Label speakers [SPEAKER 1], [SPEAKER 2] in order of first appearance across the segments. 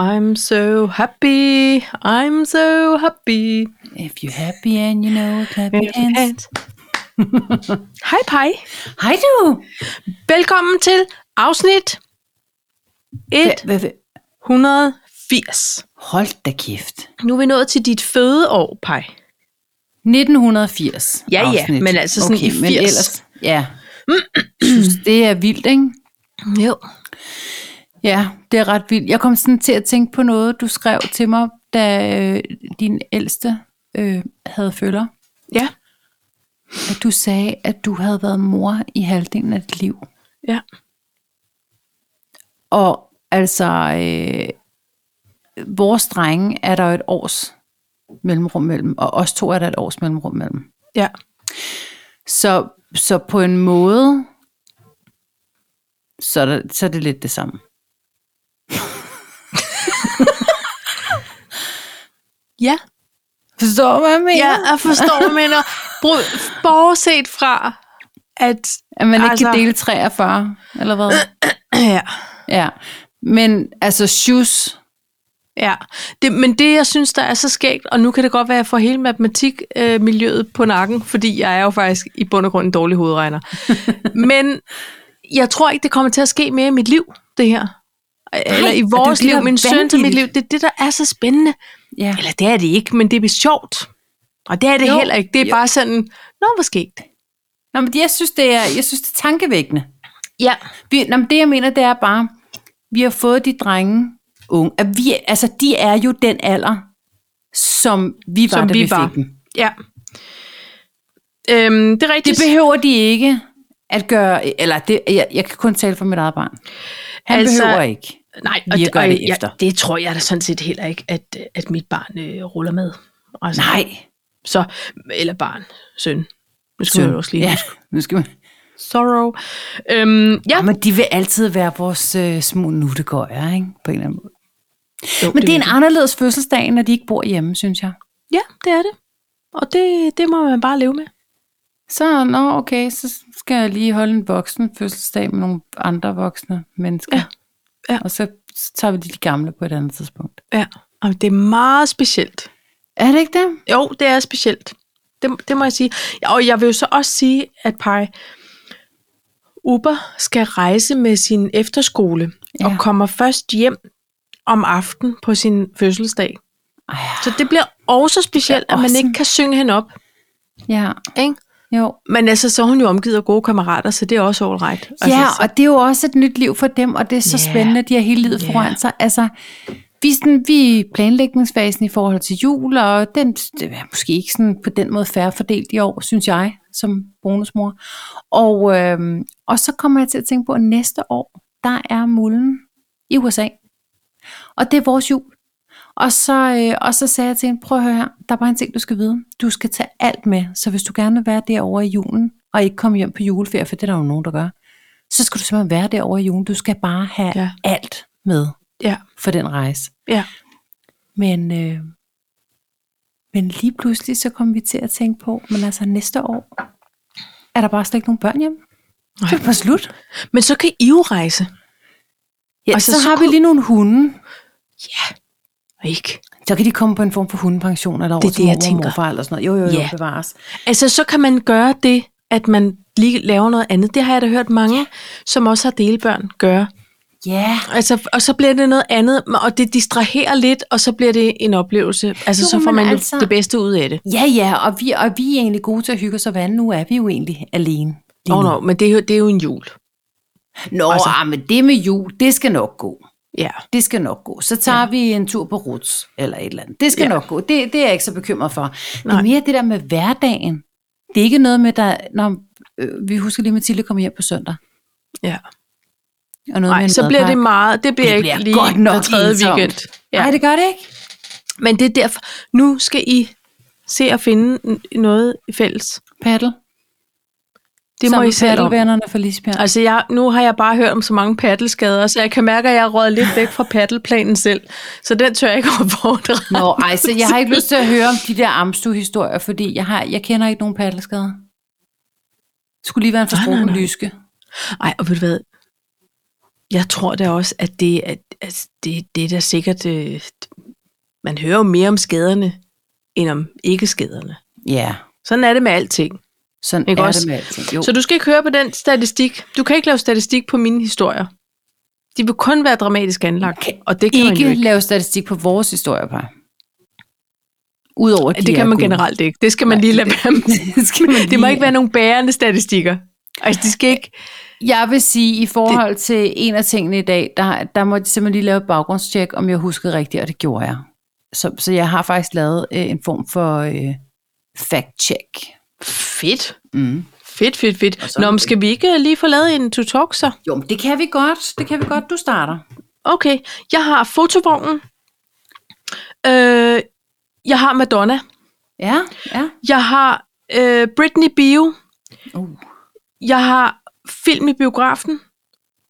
[SPEAKER 1] I'm so happy, I'm so happy.
[SPEAKER 2] If you're happy and you know it, clap your hands.
[SPEAKER 1] Hej pej.
[SPEAKER 2] Hej du!
[SPEAKER 1] Velkommen til afsnit 180.
[SPEAKER 2] Hold da kæft.
[SPEAKER 1] Nu er vi nået til dit fødeår, Pej.
[SPEAKER 2] 1980
[SPEAKER 1] Ja, ja,
[SPEAKER 2] afsnit.
[SPEAKER 1] men altså sådan i 80.
[SPEAKER 2] Men ellers, ja. Synes, det er vildt, ikke?
[SPEAKER 1] Jo.
[SPEAKER 2] Ja, det er ret vildt. Jeg kom sådan til at tænke på noget, du skrev til mig, da øh, din ældste øh, havde følger.
[SPEAKER 1] Ja,
[SPEAKER 2] At du sagde, at du havde været mor i halvdelen af dit liv.
[SPEAKER 1] ja.
[SPEAKER 2] Og altså, øh, vores drenge er der jo et års mellemrum mellem, og os to er der et års mellemrum mellem.
[SPEAKER 1] Ja.
[SPEAKER 2] Så, så på en måde, så er, der, så er det lidt det samme.
[SPEAKER 1] Ja.
[SPEAKER 2] Forstår du, hvad jeg mener?
[SPEAKER 1] Ja, jeg forstår, hvad du mener. Bru- Bortset fra, at...
[SPEAKER 2] At man ikke altså... Øh.
[SPEAKER 1] Altså-
[SPEAKER 2] kan dele 43, eller hvad?
[SPEAKER 1] Ja,
[SPEAKER 2] ja. Men altså, shoes,
[SPEAKER 1] ja. Det, men det, jeg synes, der er så skægt, og nu kan det godt være, at jeg får hele matematikmiljøet øh, miljøet på nakken, fordi jeg er jo faktisk i bund og grund en dårlig hovedregner. men jeg tror ikke, det kommer til at ske mere i mit liv, det her. Eller i
[SPEAKER 2] og det er
[SPEAKER 1] vores
[SPEAKER 2] jo det, der
[SPEAKER 1] liv,
[SPEAKER 2] er
[SPEAKER 1] min søns og mit liv.
[SPEAKER 2] vanvittigt.
[SPEAKER 1] Det er det, der er så spændende.
[SPEAKER 2] ja.
[SPEAKER 1] Eller det er det ikke, men det er sjovt. Og det er det
[SPEAKER 2] Jo.
[SPEAKER 1] jo. heller ikke. Det er jo.
[SPEAKER 2] Jo.
[SPEAKER 1] bare sådan, nå, hvor skægt.
[SPEAKER 2] Nå, men jeg synes, det er, jeg synes, det er tankevækkende.
[SPEAKER 1] Ja.
[SPEAKER 2] Vi, nå, men det jeg mener, det er bare, vi har fået de drenge unge. At vi, altså, de er jo den alder, som vi var,
[SPEAKER 1] Som
[SPEAKER 2] da
[SPEAKER 1] vi
[SPEAKER 2] vi
[SPEAKER 1] var.
[SPEAKER 2] fik dem.
[SPEAKER 1] Ja. Øhm, det er rigtigt.
[SPEAKER 2] Det behøver de ikke at gøre, eller det, jeg, jeg kan kun tale for mit eget barn. Han
[SPEAKER 1] Altså-
[SPEAKER 2] altså, behøver ikke.
[SPEAKER 1] Nej,
[SPEAKER 2] Vi gør det
[SPEAKER 1] jeg-
[SPEAKER 2] efter.
[SPEAKER 1] det tror jeg da sådan set heller ikke, at, at mit barn øh, ruller med. Altså,
[SPEAKER 2] Nej.
[SPEAKER 1] Så, eller barn, søn. Nu skal
[SPEAKER 2] Søn.
[SPEAKER 1] søn. man jo også lige
[SPEAKER 2] ja,
[SPEAKER 1] huske.
[SPEAKER 2] nu skal man.
[SPEAKER 1] Sorrow. Øhm, ja,
[SPEAKER 2] Men de vil altid være vores øh, små nuttegøjer, ikke? På en eller anden måde.
[SPEAKER 1] jo,
[SPEAKER 2] Men det er
[SPEAKER 1] ved
[SPEAKER 2] en anderledes fødselsdag, når de ikke bor hjemme, synes jeg.
[SPEAKER 1] jeg. Ja, det er det. Og det, det må man bare leve med.
[SPEAKER 2] Så, nå, okay, så skal jeg lige holde en voksen fødselsdag med nogle andre voksne mennesker.
[SPEAKER 1] Ja. Ja.
[SPEAKER 2] Og så, så tager vi lige de gamle på et andet tidspunkt.
[SPEAKER 1] Ja, og det er meget specielt.
[SPEAKER 2] Er det ikke det?
[SPEAKER 1] Jo, det er specielt. Det, det må jeg sige. Og jeg vil jo så også sige, at Pai, Uber skal rejse med sin efterskole ja. og
[SPEAKER 2] Ja.
[SPEAKER 1] kommer først hjem om aftenen på sin fødselsdag.
[SPEAKER 2] Ej,
[SPEAKER 1] Så det bliver også specielt,
[SPEAKER 2] Ja,
[SPEAKER 1] at man
[SPEAKER 2] awesome.
[SPEAKER 1] ikke kan synge hende op.
[SPEAKER 2] ja,
[SPEAKER 1] Ikke?
[SPEAKER 2] jo.
[SPEAKER 1] Men altså, så er hun jo omgivet af gode kammerater, så det er også all right. Altså,
[SPEAKER 2] Ja,
[SPEAKER 1] så-
[SPEAKER 2] og det er jo også et nyt liv for dem, og det er så
[SPEAKER 1] Ja.
[SPEAKER 2] yeah. spændende, at de har hele livet
[SPEAKER 1] Ja.
[SPEAKER 2] yeah. foran sig. Altså, vi er, sådan, vi er i planlægningsfasen i forhold til jul, og den det er måske ikke sådan på den måde færre fordelt i år, synes jeg, som bonusmor. Og, øhm, og så kommer jeg til at tænke på, at næste år, der er mulden i USA. Og det er vores jul. Og så, øh, og så sagde jeg til hende, prøv at høre her, der er bare en ting, du skal vide. Du skal tage alt med, så hvis du gerne vil være derovre i julen, og ikke komme hjem på juleferie, for det er der jo nogen, der gør, så skal du simpelthen være derovre i julen. Du skal bare have
[SPEAKER 1] Ja.
[SPEAKER 2] ja. alt med
[SPEAKER 1] ja,
[SPEAKER 2] for den rejse.
[SPEAKER 1] ja.
[SPEAKER 2] Men, øh, men lige pludselig, så kom vi til at tænke på, men altså næste år, er der bare slet ikke nogen børn hjemme?
[SPEAKER 1] Nej.
[SPEAKER 2] Så er det bare slut.
[SPEAKER 1] Men så kan I jo rejse.
[SPEAKER 2] Ja,
[SPEAKER 1] Altså,
[SPEAKER 2] altså, så,
[SPEAKER 1] så
[SPEAKER 2] så har vi
[SPEAKER 1] kunne-
[SPEAKER 2] lige nogle hunde.
[SPEAKER 1] Ikke?
[SPEAKER 2] Så kan de komme på en form for hundepension, eller over
[SPEAKER 1] Det er
[SPEAKER 2] til
[SPEAKER 1] det, jeg
[SPEAKER 2] mormor og
[SPEAKER 1] tænker.
[SPEAKER 2] morfar, eller sådan noget. Jo, jo, jo,
[SPEAKER 1] Ja.
[SPEAKER 2] bevares.
[SPEAKER 1] Altså, så kan man gøre det, at man lige laver noget andet. Det har jeg da hørt mange, som også har delbørn, gøre.
[SPEAKER 2] Ja. Yeah.
[SPEAKER 1] Altså, og så bliver det noget andet, og det distraherer lidt, og så bliver det en oplevelse. Altså,
[SPEAKER 2] Jo,
[SPEAKER 1] så får
[SPEAKER 2] men
[SPEAKER 1] man altså...
[SPEAKER 2] altså-
[SPEAKER 1] det bedste ud af det.
[SPEAKER 2] Ja, ja, og vi, og vi er egentlig gode til at hygge os, og hvad nu er vi jo egentlig alene. lige
[SPEAKER 1] Nå,
[SPEAKER 2] nu.
[SPEAKER 1] nå, men det, er jo- det er jo en jul. Altså-
[SPEAKER 2] Nå, altså. ah, men det med jul, det skal nok gå.
[SPEAKER 1] Ja.
[SPEAKER 2] Det skal nok gå. Så tager ja. vi en tur på Ruts, eller et eller andet. Det skal
[SPEAKER 1] Ja.
[SPEAKER 2] ja. nok gå. Det, det er jeg ikke så bekymret for. Det
[SPEAKER 1] Nej.
[SPEAKER 2] er mere det der med hverdagen. Det er ikke noget med, der, når øh, vi husker lige, Mathilde kommer hjem på søndag.
[SPEAKER 1] ja.
[SPEAKER 2] Og noget med
[SPEAKER 1] Nej,
[SPEAKER 2] en
[SPEAKER 1] så bliver det
[SPEAKER 2] madpakke.
[SPEAKER 1] meget, det bliver,
[SPEAKER 2] Det
[SPEAKER 1] ikke
[SPEAKER 2] bliver
[SPEAKER 1] lige
[SPEAKER 2] godt nok
[SPEAKER 1] hver tredje
[SPEAKER 2] ensomt.
[SPEAKER 1] weekend.
[SPEAKER 2] Nej, det gør det ikke.
[SPEAKER 1] Men det er derfor, nu skal I se at finde n- noget fælles.
[SPEAKER 2] Paddle.
[SPEAKER 1] Det må
[SPEAKER 2] Sammen
[SPEAKER 1] I
[SPEAKER 2] med
[SPEAKER 1] selv om.
[SPEAKER 2] paddlevennerne fra Lisbjerg.
[SPEAKER 1] Altså, jeg, nu har jeg bare hørt om så mange paddelskader, så jeg kan mærke, at jeg er røget lidt væk fra paddelplanen selv. Så den tør jeg ikke opfordre.
[SPEAKER 2] Nå, ej, så jeg har ikke lyst til at høre om de der Amstu-historier, fordi jeg, har, jeg kender ikke nogen paddelskader. Det skulle lige være en
[SPEAKER 1] nej,
[SPEAKER 2] forstrukken
[SPEAKER 1] nej.
[SPEAKER 2] lyske.
[SPEAKER 1] Ej, og ved du hvad? Jeg tror da også, at det, at, at det, det er da sikkert... Øh, man hører jo mere om skaderne, end om ikke-skaderne.
[SPEAKER 2] Ja,
[SPEAKER 1] Sådan er det med alting.
[SPEAKER 2] sådan
[SPEAKER 1] Ikke
[SPEAKER 2] er
[SPEAKER 1] også?
[SPEAKER 2] det med alting. Jo.
[SPEAKER 1] Så du skal ikke høre på den statistik. Du kan ikke lave statistik på mine historier. De vil kun være dramatisk anlagt,
[SPEAKER 2] Man kan
[SPEAKER 1] og det kan man jo
[SPEAKER 2] ikke,
[SPEAKER 1] ikke.
[SPEAKER 2] lave statistik på vores historier, par. Udover de
[SPEAKER 1] Det
[SPEAKER 2] er
[SPEAKER 1] kan man
[SPEAKER 2] gode.
[SPEAKER 1] generelt ikke. Det skal man
[SPEAKER 2] Nej,
[SPEAKER 1] lige lade være med.
[SPEAKER 2] det, skal man
[SPEAKER 1] Det må
[SPEAKER 2] lige-
[SPEAKER 1] ikke være nogen bærende statistikker. Altså, de skal ikke...
[SPEAKER 2] Jeg vil sige, i forhold til en af tingene i dag, der, der måtte jeg simpelthen lige lave et baggrundstjek, om jeg huskede rigtigt, og det gjorde jeg. Så, så jeg har faktisk lavet øh, en form for øh, fact-check.
[SPEAKER 1] Fedt.
[SPEAKER 2] Mm.
[SPEAKER 1] Fedt, fedt, fedt.
[SPEAKER 2] sådan
[SPEAKER 1] Nå,
[SPEAKER 2] er
[SPEAKER 1] men
[SPEAKER 2] det.
[SPEAKER 1] skal vi ikke lige få lavet en to talk så?
[SPEAKER 2] Jo, men det kan vi godt. Det kan vi godt. Du starter.
[SPEAKER 1] Okay, jeg har fotovognen. Øh, jeg har Madonna.
[SPEAKER 2] Ja, ja.
[SPEAKER 1] Jeg har øh, Britney Bio.
[SPEAKER 2] Uh.
[SPEAKER 1] Jeg har film i biografen.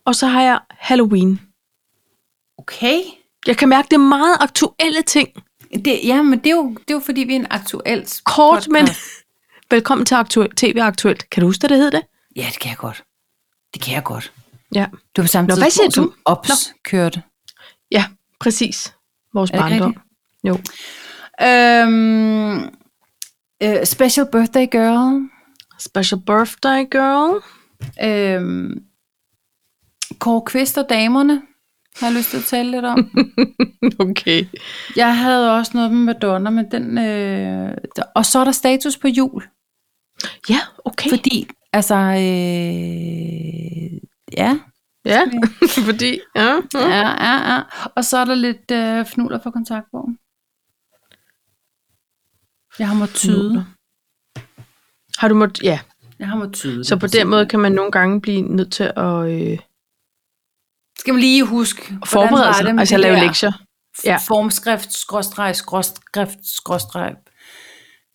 [SPEAKER 1] Og så har jeg Halloween.
[SPEAKER 2] Okay.
[SPEAKER 1] Jeg kan mærke, det er meget aktuelle ting.
[SPEAKER 2] Det, ja, men det er, jo, det er jo fordi, vi er en aktuel
[SPEAKER 1] Kort, men
[SPEAKER 2] podcast.
[SPEAKER 1] velkommen til aktuel, TV Aktuelt. Kan du huske, hvad det hed det?
[SPEAKER 2] Ja, det kan jeg godt. Det kan jeg godt.
[SPEAKER 1] Ja.
[SPEAKER 2] Du var samtidig
[SPEAKER 1] hvad siger
[SPEAKER 2] som
[SPEAKER 1] du?
[SPEAKER 2] Ops kørte.
[SPEAKER 1] Ja, præcis. Vores
[SPEAKER 2] Er det ikke
[SPEAKER 1] barndom. Jo.
[SPEAKER 2] Øhm, øh, special birthday girl.
[SPEAKER 1] Special birthday girl.
[SPEAKER 2] Øhm, Kåre Kvist og damerne har jeg lyst til at tale lidt om.
[SPEAKER 1] Okay.
[SPEAKER 2] jeg havde også noget med Madonna, men den... Øh, der- og så er der status på jul.
[SPEAKER 1] Ja, okay.
[SPEAKER 2] Fordi, altså... Øh, ja,
[SPEAKER 1] ja, fordi... Ja, ja.
[SPEAKER 2] ja, ja, ja. Og så er der lidt øh, fnuller for kontaktbogen. Jeg har måttet tyde.
[SPEAKER 1] Har du måttet... Ja,
[SPEAKER 2] Jeg har måttet tyde.
[SPEAKER 1] så
[SPEAKER 2] det,
[SPEAKER 1] på den
[SPEAKER 2] simpelthen.
[SPEAKER 1] måde kan man nogle gange blive nødt til at øh,
[SPEAKER 2] Skal man lige huske, hvordan
[SPEAKER 1] forberede
[SPEAKER 2] var
[SPEAKER 1] sig.
[SPEAKER 2] det med
[SPEAKER 1] Altså
[SPEAKER 2] det
[SPEAKER 1] at lave
[SPEAKER 2] der
[SPEAKER 1] lektier. Ja.
[SPEAKER 2] Ja. Formskrift, skråstreg, skråskrift, skråstreg.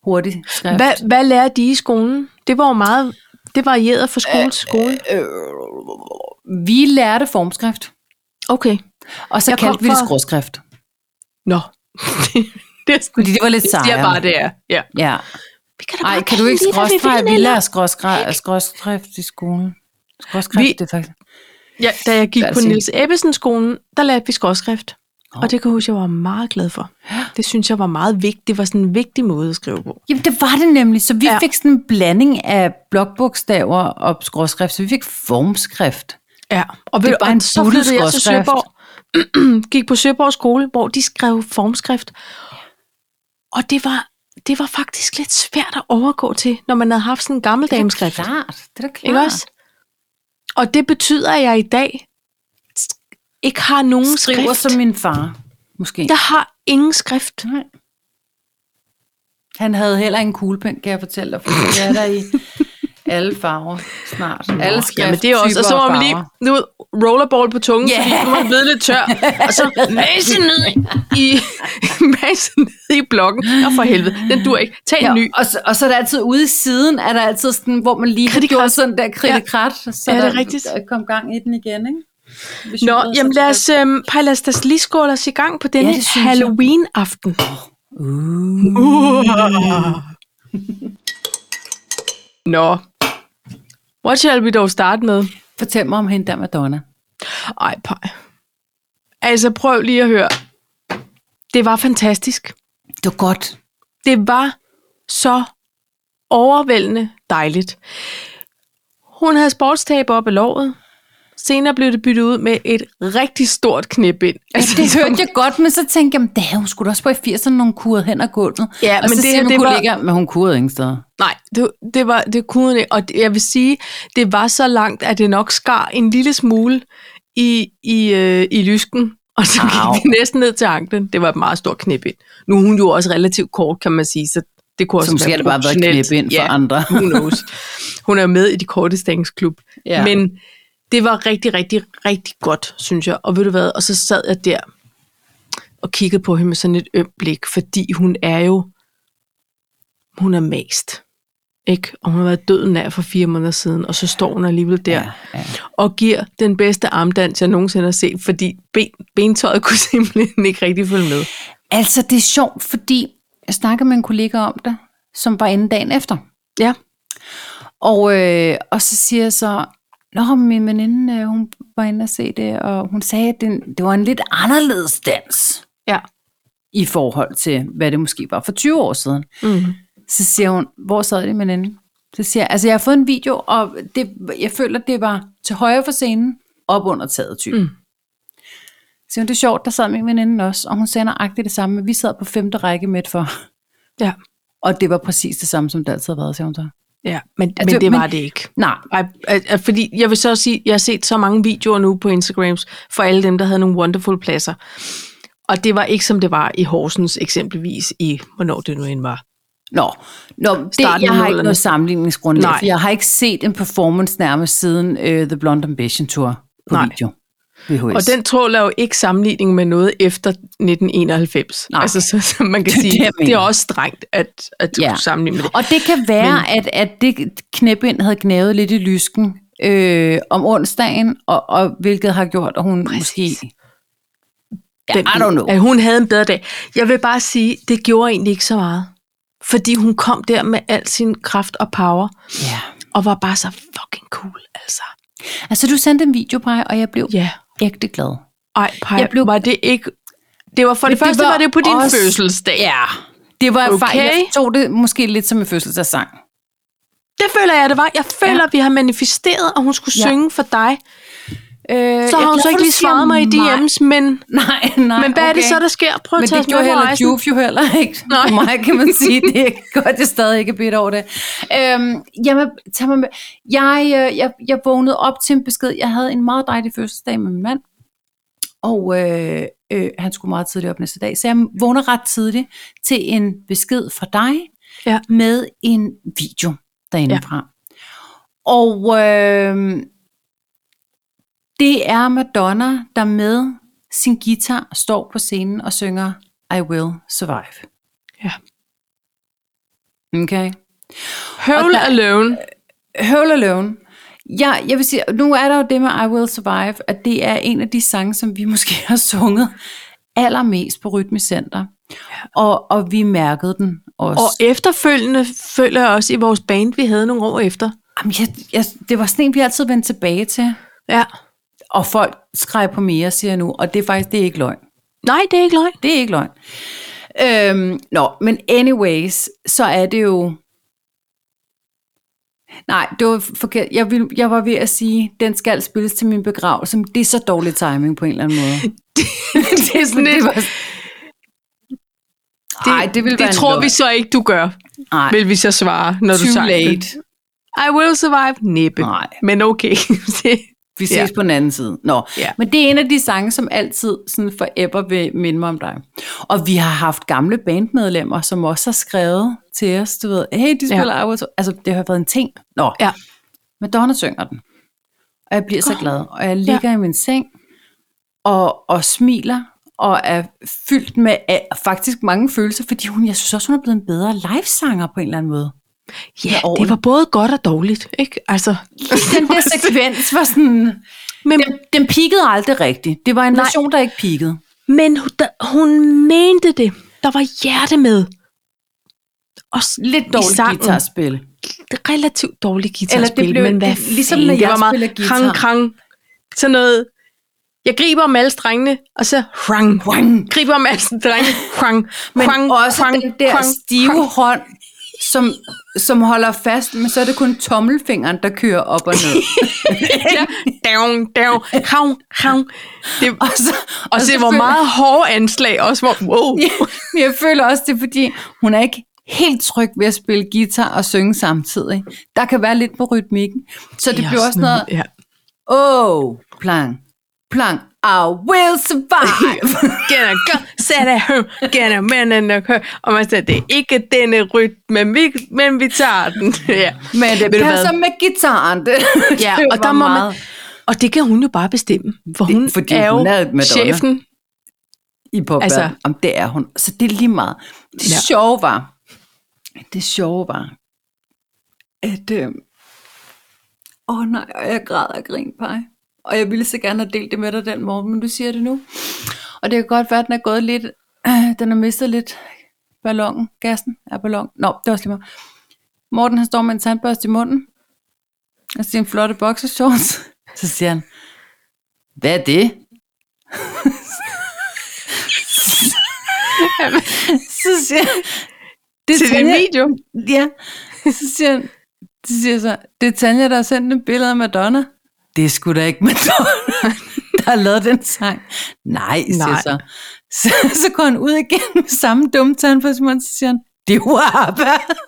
[SPEAKER 2] Hurtig skrift.
[SPEAKER 1] Hvad, hvad lærer de i skolen? Det var jo meget... Det varierede fra skole til skole.
[SPEAKER 2] Øh, vi lærte formskrift,
[SPEAKER 1] Okay.
[SPEAKER 2] og så
[SPEAKER 1] Jeg
[SPEAKER 2] jeg
[SPEAKER 1] kom
[SPEAKER 2] kaldte vi det
[SPEAKER 1] fra-
[SPEAKER 2] skråskrift.
[SPEAKER 1] Nå. det er sådan,
[SPEAKER 2] Fordi det var lidt
[SPEAKER 1] det er
[SPEAKER 2] sejere.
[SPEAKER 1] bare, det er. Ja.
[SPEAKER 2] Ja.
[SPEAKER 1] Vi kan da
[SPEAKER 2] Ej, kan du ikke skråstreg? Vi lærer skråstreg og skråskrift i skolen. Skråskrift,
[SPEAKER 1] Vi-
[SPEAKER 2] det er faktisk...
[SPEAKER 1] Ja, da jeg gik
[SPEAKER 2] Hvad er
[SPEAKER 1] på
[SPEAKER 2] det,
[SPEAKER 1] Niels Ebbesen-skolen, der lærte vi skorskrift.
[SPEAKER 2] Nå.
[SPEAKER 1] Og det kan jeg huske, jeg var meget glad for. Det synes jeg var meget vigtigt. Det var sådan en vigtig måde at skrive på.
[SPEAKER 2] Jamen, det var det nemlig. Så vi
[SPEAKER 1] Ja.
[SPEAKER 2] ja. fik sådan en blanding af blokbogstaver og skråskrift, så vi fik formskrift.
[SPEAKER 1] Ja, og, ved,
[SPEAKER 2] er
[SPEAKER 1] du-
[SPEAKER 2] bare
[SPEAKER 1] og
[SPEAKER 2] en
[SPEAKER 1] så
[SPEAKER 2] buttet
[SPEAKER 1] flyttede jeg til
[SPEAKER 2] skorskrift.
[SPEAKER 1] Søborg, gik på Søborg skole, hvor de skrev formskrift. Og det var, det var faktisk lidt svært at overgå til, når man havde haft sådan en gammel dameskrift.
[SPEAKER 2] klart. Det er da klart.
[SPEAKER 1] Ikke også? Og det betyder, at jeg i dag ikke har nogen
[SPEAKER 2] Skriver
[SPEAKER 1] skrift.
[SPEAKER 2] som min far, måske.
[SPEAKER 1] Jeg har ingen skrift.
[SPEAKER 2] Nej. Han havde heller en kuglepen, kan jeg fortælle dig, for det er der i alle farver snart. Nå, alle
[SPEAKER 1] Ja, men det er også, og så var man lige nu rollerball på tungen, yeah.
[SPEAKER 2] Ja.
[SPEAKER 1] fordi nu var det blevet lidt tør. Og så masse ned i, masse ned i blokken. Og for helvede, den dur ikke. Tag en
[SPEAKER 2] Ja,
[SPEAKER 1] ny.
[SPEAKER 2] og, så, og så er der altid ude i siden, er der altid sådan, hvor man lige
[SPEAKER 1] Kritikrat.
[SPEAKER 2] gjorde sådan der kritikrat, ja. så
[SPEAKER 1] Ja, det er
[SPEAKER 2] der
[SPEAKER 1] rigtigt.
[SPEAKER 2] der kom gang i den igen, ikke? Hvis
[SPEAKER 1] Nå,
[SPEAKER 2] julet er
[SPEAKER 1] jamen
[SPEAKER 2] så
[SPEAKER 1] lad os, øhm, Paj, lad os da lige skåle os i gang på denne
[SPEAKER 2] Ja,
[SPEAKER 1] ja,
[SPEAKER 2] det synes jeg.
[SPEAKER 1] Halloween-aften.
[SPEAKER 2] Uh.
[SPEAKER 1] Nå. What shall we dog starte med?
[SPEAKER 2] Fortæl mig om hende der Madonna.
[SPEAKER 1] Ej, Paj. Altså, prøv lige at høre. Det var fantastisk.
[SPEAKER 2] Det var godt.
[SPEAKER 1] det var så overvældende dejligt. Hun havde sportstab op af låret. Senere blev det byttet ud med et rigtig stort knæbind.
[SPEAKER 2] Ja,
[SPEAKER 1] Altså,
[SPEAKER 2] det
[SPEAKER 1] som-
[SPEAKER 2] hørte jeg godt, men så tænkte jeg, jamen, da hun skulle da også på i 80'erne, når hun kurede hen og gulvet.
[SPEAKER 1] Ja,
[SPEAKER 2] og
[SPEAKER 1] men
[SPEAKER 2] så
[SPEAKER 1] det-
[SPEAKER 2] siger
[SPEAKER 1] det
[SPEAKER 2] nogle
[SPEAKER 1] var-
[SPEAKER 2] kollegaer, men hun kurede ingen steder.
[SPEAKER 1] Nej, det, det, var, det kunne hun ikke. Og det- jeg vil sige, det var så langt, at det nok skar en lille smule i, i, øh, i lysken. Og så
[SPEAKER 2] Au.
[SPEAKER 1] gik det næsten ned til anklen. Det var et meget stort knæbind. Nu er hun jo også relativt kort, kan man sige, så det kunne også
[SPEAKER 2] Så måske har det bare været et
[SPEAKER 1] proportionelt.
[SPEAKER 2] knæbind for
[SPEAKER 1] Ja.
[SPEAKER 2] andre.
[SPEAKER 1] Who knows? Hun er med i de korte stængsklub.
[SPEAKER 2] Ja.
[SPEAKER 1] Ja. Men det var rigtig, rigtig, rigtig godt, synes jeg. Og ved du hvad, og så sad jeg der og kiggede på hende med sådan et ømt blik, fordi hun er jo, hun er mast. Ikke? Og hun har været døden af for fire måneder siden, og så står hun alligevel der ja.
[SPEAKER 2] ja.
[SPEAKER 1] og giver den bedste armdans, jeg nogensinde har set, fordi ben, bentøjet kunne simpelthen ikke rigtig følge med.
[SPEAKER 2] Altså, det er sjovt, fordi jeg snakkede med en kollega om det, som var inde dagen efter.
[SPEAKER 1] Ja,
[SPEAKER 2] Og, øh, og så siger jeg så, Nå, min veninde, øh, hun var inde og se det, og hun sagde, at den, det var en lidt anderledes dans
[SPEAKER 1] Ja.
[SPEAKER 2] i forhold til, hvad det måske var for 20 år siden.
[SPEAKER 1] Mm.
[SPEAKER 2] Så siger hun, hvor sad det med den? Så siger jeg, altså jeg har fået en video, og det, jeg føler, det var til højre for scenen, op under taget typ.
[SPEAKER 1] Mm.
[SPEAKER 2] Mm. Så siger hun, det er sjovt, der sad min veninde også, og hun sagde nøjagtigt det samme, men vi sad på femte række med for,
[SPEAKER 1] Ja.
[SPEAKER 2] og det var præcis det samme, som det altid har været, siger hun så.
[SPEAKER 1] Ja, men, altså,
[SPEAKER 2] Altså,
[SPEAKER 1] men det
[SPEAKER 2] men-
[SPEAKER 1] var det ikke.
[SPEAKER 2] Nej,
[SPEAKER 1] Ej, al- al- fordi jeg vil så også sige, jeg har set så mange videoer nu på Instagrams for alle dem, der havde nogle wonderful pladser. Og det var ikke, som det var i Horsens eksempelvis i, hvornår det nu end var.
[SPEAKER 2] Nå, Nå det,
[SPEAKER 1] Starten
[SPEAKER 2] jeg
[SPEAKER 1] af
[SPEAKER 2] har ikke
[SPEAKER 1] nullerne.
[SPEAKER 2] noget sammenligningsgrundlag,
[SPEAKER 1] Nej.
[SPEAKER 2] for jeg har ikke set en performance nærmest siden uh, The Blonde Ambition Tour på
[SPEAKER 1] Nej.
[SPEAKER 2] video. VHS.
[SPEAKER 1] Og den tråler jo ikke sammenligning med noget efter 1991.
[SPEAKER 2] Nej.
[SPEAKER 1] Altså, så, så man kan
[SPEAKER 2] Det er det,
[SPEAKER 1] sige,
[SPEAKER 2] jeg
[SPEAKER 1] det er
[SPEAKER 2] mener.
[SPEAKER 1] også strengt at, at
[SPEAKER 2] Ja.
[SPEAKER 1] ja. sammenligne med det.
[SPEAKER 2] og det kan være, Men... at, at det knæbind havde gnavet lidt i lysken øh, om onsdagen, og, og hvilket har gjort, at hun Præcis. måske... Ja,
[SPEAKER 1] den,
[SPEAKER 2] I don't know.
[SPEAKER 1] At hun havde en bedre dag. Jeg vil bare sige, det gjorde egentlig ikke så meget. Fordi hun kom der med al sin kraft og power,
[SPEAKER 2] Ja.
[SPEAKER 1] og var bare så fucking cool, altså.
[SPEAKER 2] Altså, du sendte en video på mig, og jeg blev
[SPEAKER 1] Ja. Yeah.
[SPEAKER 2] ægte glad.
[SPEAKER 1] Ej, Paj,
[SPEAKER 2] Jeg
[SPEAKER 1] jeg
[SPEAKER 2] blev-
[SPEAKER 1] blev... var det ikke... Det var for det,
[SPEAKER 2] Men
[SPEAKER 1] det første var, var det på din
[SPEAKER 2] også-
[SPEAKER 1] også... fødselsdag.
[SPEAKER 2] Ja, det var okay.
[SPEAKER 1] Okay.
[SPEAKER 2] fejl. Jeg tog det måske lidt som en fødselsdagssang.
[SPEAKER 1] Det føler jeg, det var. Jeg føler, ja. vi har manifesteret, og hun skulle
[SPEAKER 2] Ja.
[SPEAKER 1] ja. synge for dig.
[SPEAKER 2] Øh,
[SPEAKER 1] Så har hun så ikke lige svaret mig i DM's, men,
[SPEAKER 2] Nej, nej,
[SPEAKER 1] men hvad okay. er det
[SPEAKER 2] okay.
[SPEAKER 1] så, der sker? Prøv
[SPEAKER 2] Men
[SPEAKER 1] at tage
[SPEAKER 2] det
[SPEAKER 1] os med
[SPEAKER 2] gjorde
[SPEAKER 1] på
[SPEAKER 2] heller
[SPEAKER 1] rejsen.
[SPEAKER 2] Juve jo heller ikke. Nej.
[SPEAKER 1] Nej.
[SPEAKER 2] For mig kan man sige, det er godt, jeg stadig ikke er bidt over det. Øhm, jamen, tag mig med. Jeg, øh, jeg, jeg vågnede op til en besked. Jeg havde en meget dejlig fødselsdag med min mand. Og øh, øh, han skulle meget tidligt op næste dag. Så jeg vågner ret tidligt til en besked fra dig
[SPEAKER 1] Ja.
[SPEAKER 2] med en video derindefra. Ja. Og øh, det er Madonna, der med sin guitar står på scenen og synger I Will Survive.
[SPEAKER 1] Ja.
[SPEAKER 2] Okay.
[SPEAKER 1] Høvl
[SPEAKER 2] Og der-
[SPEAKER 1] alone.
[SPEAKER 2] Whole Alone. Ja, jeg vil sige, nu er der jo det med I Will Survive, at det er en af de sange, som vi måske har sunget allermest på Rytmecenter. Ja. Og, og vi mærkede den også.
[SPEAKER 1] Og efterfølgende føler jeg også i vores band, vi havde nogle år efter.
[SPEAKER 2] Jamen, jeg, jeg, det var sådan en, vi altid vendte tilbage til.
[SPEAKER 1] Ja.
[SPEAKER 2] Og folk skreg på mere, siger jeg nu. Og det er faktisk det er ikke løgn.
[SPEAKER 1] Nej, det er ikke løgn.
[SPEAKER 2] Det er ikke løgn. Øhm, nå, men anyways, så er det jo... Nej, det var forkert. Jeg, ville, jeg var ved at sige, den skal spilles til min begravelse. men Det er så dårlig timing på en eller anden måde.
[SPEAKER 1] det er sådan lidt...
[SPEAKER 2] var...
[SPEAKER 1] Det,
[SPEAKER 2] Ej, det ville
[SPEAKER 1] det
[SPEAKER 2] være en
[SPEAKER 1] tror
[SPEAKER 2] løgn.
[SPEAKER 1] vi så ikke, du gør,
[SPEAKER 2] Ej,
[SPEAKER 1] vil vi så svare, når du
[SPEAKER 2] too
[SPEAKER 1] sang det.
[SPEAKER 2] late.
[SPEAKER 1] I will survive. Næppe.
[SPEAKER 2] Nej.
[SPEAKER 1] Men okay. Det-
[SPEAKER 2] Vi ses ja.
[SPEAKER 1] Ja.
[SPEAKER 2] på den anden side. Nå.
[SPEAKER 1] Ja.
[SPEAKER 2] Men det er en af de sange, som altid sådan forever vil minde mig om dig. Og vi har haft gamle bandmedlemmer, som også har skrevet til os, du ved, hey, de spiller ja. Altså, det har været en ting. Nå.
[SPEAKER 1] Ja.
[SPEAKER 2] Madonna synger den. Og jeg bliver så
[SPEAKER 1] Åh.
[SPEAKER 2] glad. Og jeg ligger ja. i min seng og, og smiler og er fyldt med af, faktisk mange følelser, fordi hun, jeg synes også, hun er blevet en bedre livesanger på en eller anden måde.
[SPEAKER 1] Ja,
[SPEAKER 2] over
[SPEAKER 1] det var både godt og dårligt, ikke? Altså,
[SPEAKER 2] Den der sekvens var sådan...
[SPEAKER 1] men,
[SPEAKER 2] Den, den peakede aldrig rigtigt. Det var en
[SPEAKER 1] Nej.
[SPEAKER 2] version, der ikke peakede.
[SPEAKER 1] men hun- der, hun mente det. Der var hjerte med. Og s-
[SPEAKER 2] Lidt
[SPEAKER 1] i
[SPEAKER 2] dårligt
[SPEAKER 1] sangen.
[SPEAKER 2] guitarspil.
[SPEAKER 1] Relativt dårligt guitarspil,
[SPEAKER 2] Eller det blev-
[SPEAKER 1] men hvad
[SPEAKER 2] det- ligesom når
[SPEAKER 1] fanden,
[SPEAKER 2] jeg
[SPEAKER 1] det var
[SPEAKER 2] spiller
[SPEAKER 1] meget
[SPEAKER 2] guitar.
[SPEAKER 1] krang, krang. Sådan noget, jeg griber om alle strengene, og så hrang,
[SPEAKER 2] Wang.
[SPEAKER 1] griber om alle strengene, hrang,
[SPEAKER 2] Men
[SPEAKER 1] hrang,
[SPEAKER 2] også
[SPEAKER 1] hrang,
[SPEAKER 2] den der
[SPEAKER 1] hrang,
[SPEAKER 2] stive
[SPEAKER 1] hrang.
[SPEAKER 2] hånd, som, som holder fast, men så er det kun tommelfingeren, der kører op og ned.
[SPEAKER 1] Ja, down, down, hrang, hrang. Det,
[SPEAKER 2] og så,
[SPEAKER 1] og se,
[SPEAKER 2] så
[SPEAKER 1] hvor
[SPEAKER 2] føler-
[SPEAKER 1] meget hårde anslag også, hvor, wow.
[SPEAKER 2] Ja, men jeg føler også, det er fordi, hun er ikke helt tryg ved at spille guitar og synge samtidig. Der kan være lidt på rytmikken. Så det, det bliver også noget,
[SPEAKER 1] Ja.
[SPEAKER 2] oh, plang, plang, I will survive.
[SPEAKER 1] Gætter gør, sætter hø, gætter manden og hø. Og man siger, det er ikke denne rytme, men vi, men vi tager den. Ja.
[SPEAKER 2] Men det
[SPEAKER 1] Ved du
[SPEAKER 2] passer
[SPEAKER 1] hvad?
[SPEAKER 2] med gitaren. Det,
[SPEAKER 1] ja,
[SPEAKER 2] det
[SPEAKER 1] og
[SPEAKER 2] var
[SPEAKER 1] der må man,
[SPEAKER 2] meget-
[SPEAKER 1] og det kan hun jo bare bestemme, for hun det,
[SPEAKER 2] fordi
[SPEAKER 1] er jo
[SPEAKER 2] hun er
[SPEAKER 1] er
[SPEAKER 2] Madonna.
[SPEAKER 1] chefen.
[SPEAKER 2] i popbørn. Altså,
[SPEAKER 1] Altså-
[SPEAKER 2] Jamen, det er hun. Så det er lige meget. Det ja.
[SPEAKER 1] Ja.
[SPEAKER 2] sjove var, det sjove var, at, øh, åh øh, nej, og jeg græd og grin på Og jeg ville så gerne have delt det med dig den morgen, men du siger det nu. Og det kan godt være, at den er gået lidt, øh, den har mistet lidt ballongen, gassen af ballon. Nå, det var også lige meget. Morten, han står med en tandbørste i munden, og sin flotte boxershorts. Så siger han, Hvad er det? så siger jeg,
[SPEAKER 1] Det er
[SPEAKER 2] Til
[SPEAKER 1] til
[SPEAKER 2] den
[SPEAKER 1] en video.
[SPEAKER 2] ja, så siger han, så siger jeg så, det er Tanja, der har sendt et billede af Madonna. Det er sgu da ikke Madonna, der har lavet den sang. Nej, siger
[SPEAKER 1] Nej.
[SPEAKER 2] Nej. så. så. Så går han ud igen med samme dumme tand på Simon, så siger han, det er jo ABBA.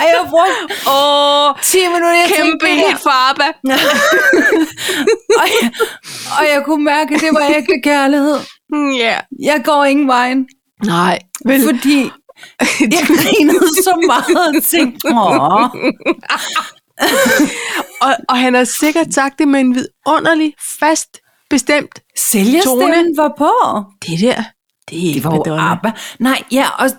[SPEAKER 2] Ej, jeg har brugt
[SPEAKER 1] Åh,
[SPEAKER 2] 10 minutter, jeg
[SPEAKER 1] kæmpe
[SPEAKER 2] tænkte, det her.
[SPEAKER 1] hit for ABBA.
[SPEAKER 2] og, jeg, og jeg kunne mærke, at det var ægte kærlighed.
[SPEAKER 1] Mm, Ja.
[SPEAKER 2] Jeg går ingen vejen.
[SPEAKER 1] Nej. Vel,
[SPEAKER 2] Fordi jeg grinede så meget og tænkte, åh,
[SPEAKER 1] og, og han har sikkert sagt det med en vidunderlig, fast, bestemt.
[SPEAKER 2] sælgerstemmen var på.
[SPEAKER 1] Det der, det er
[SPEAKER 2] Det
[SPEAKER 1] ikke
[SPEAKER 2] var jo
[SPEAKER 1] Madonna.
[SPEAKER 2] ABBA. Nej, ja, også,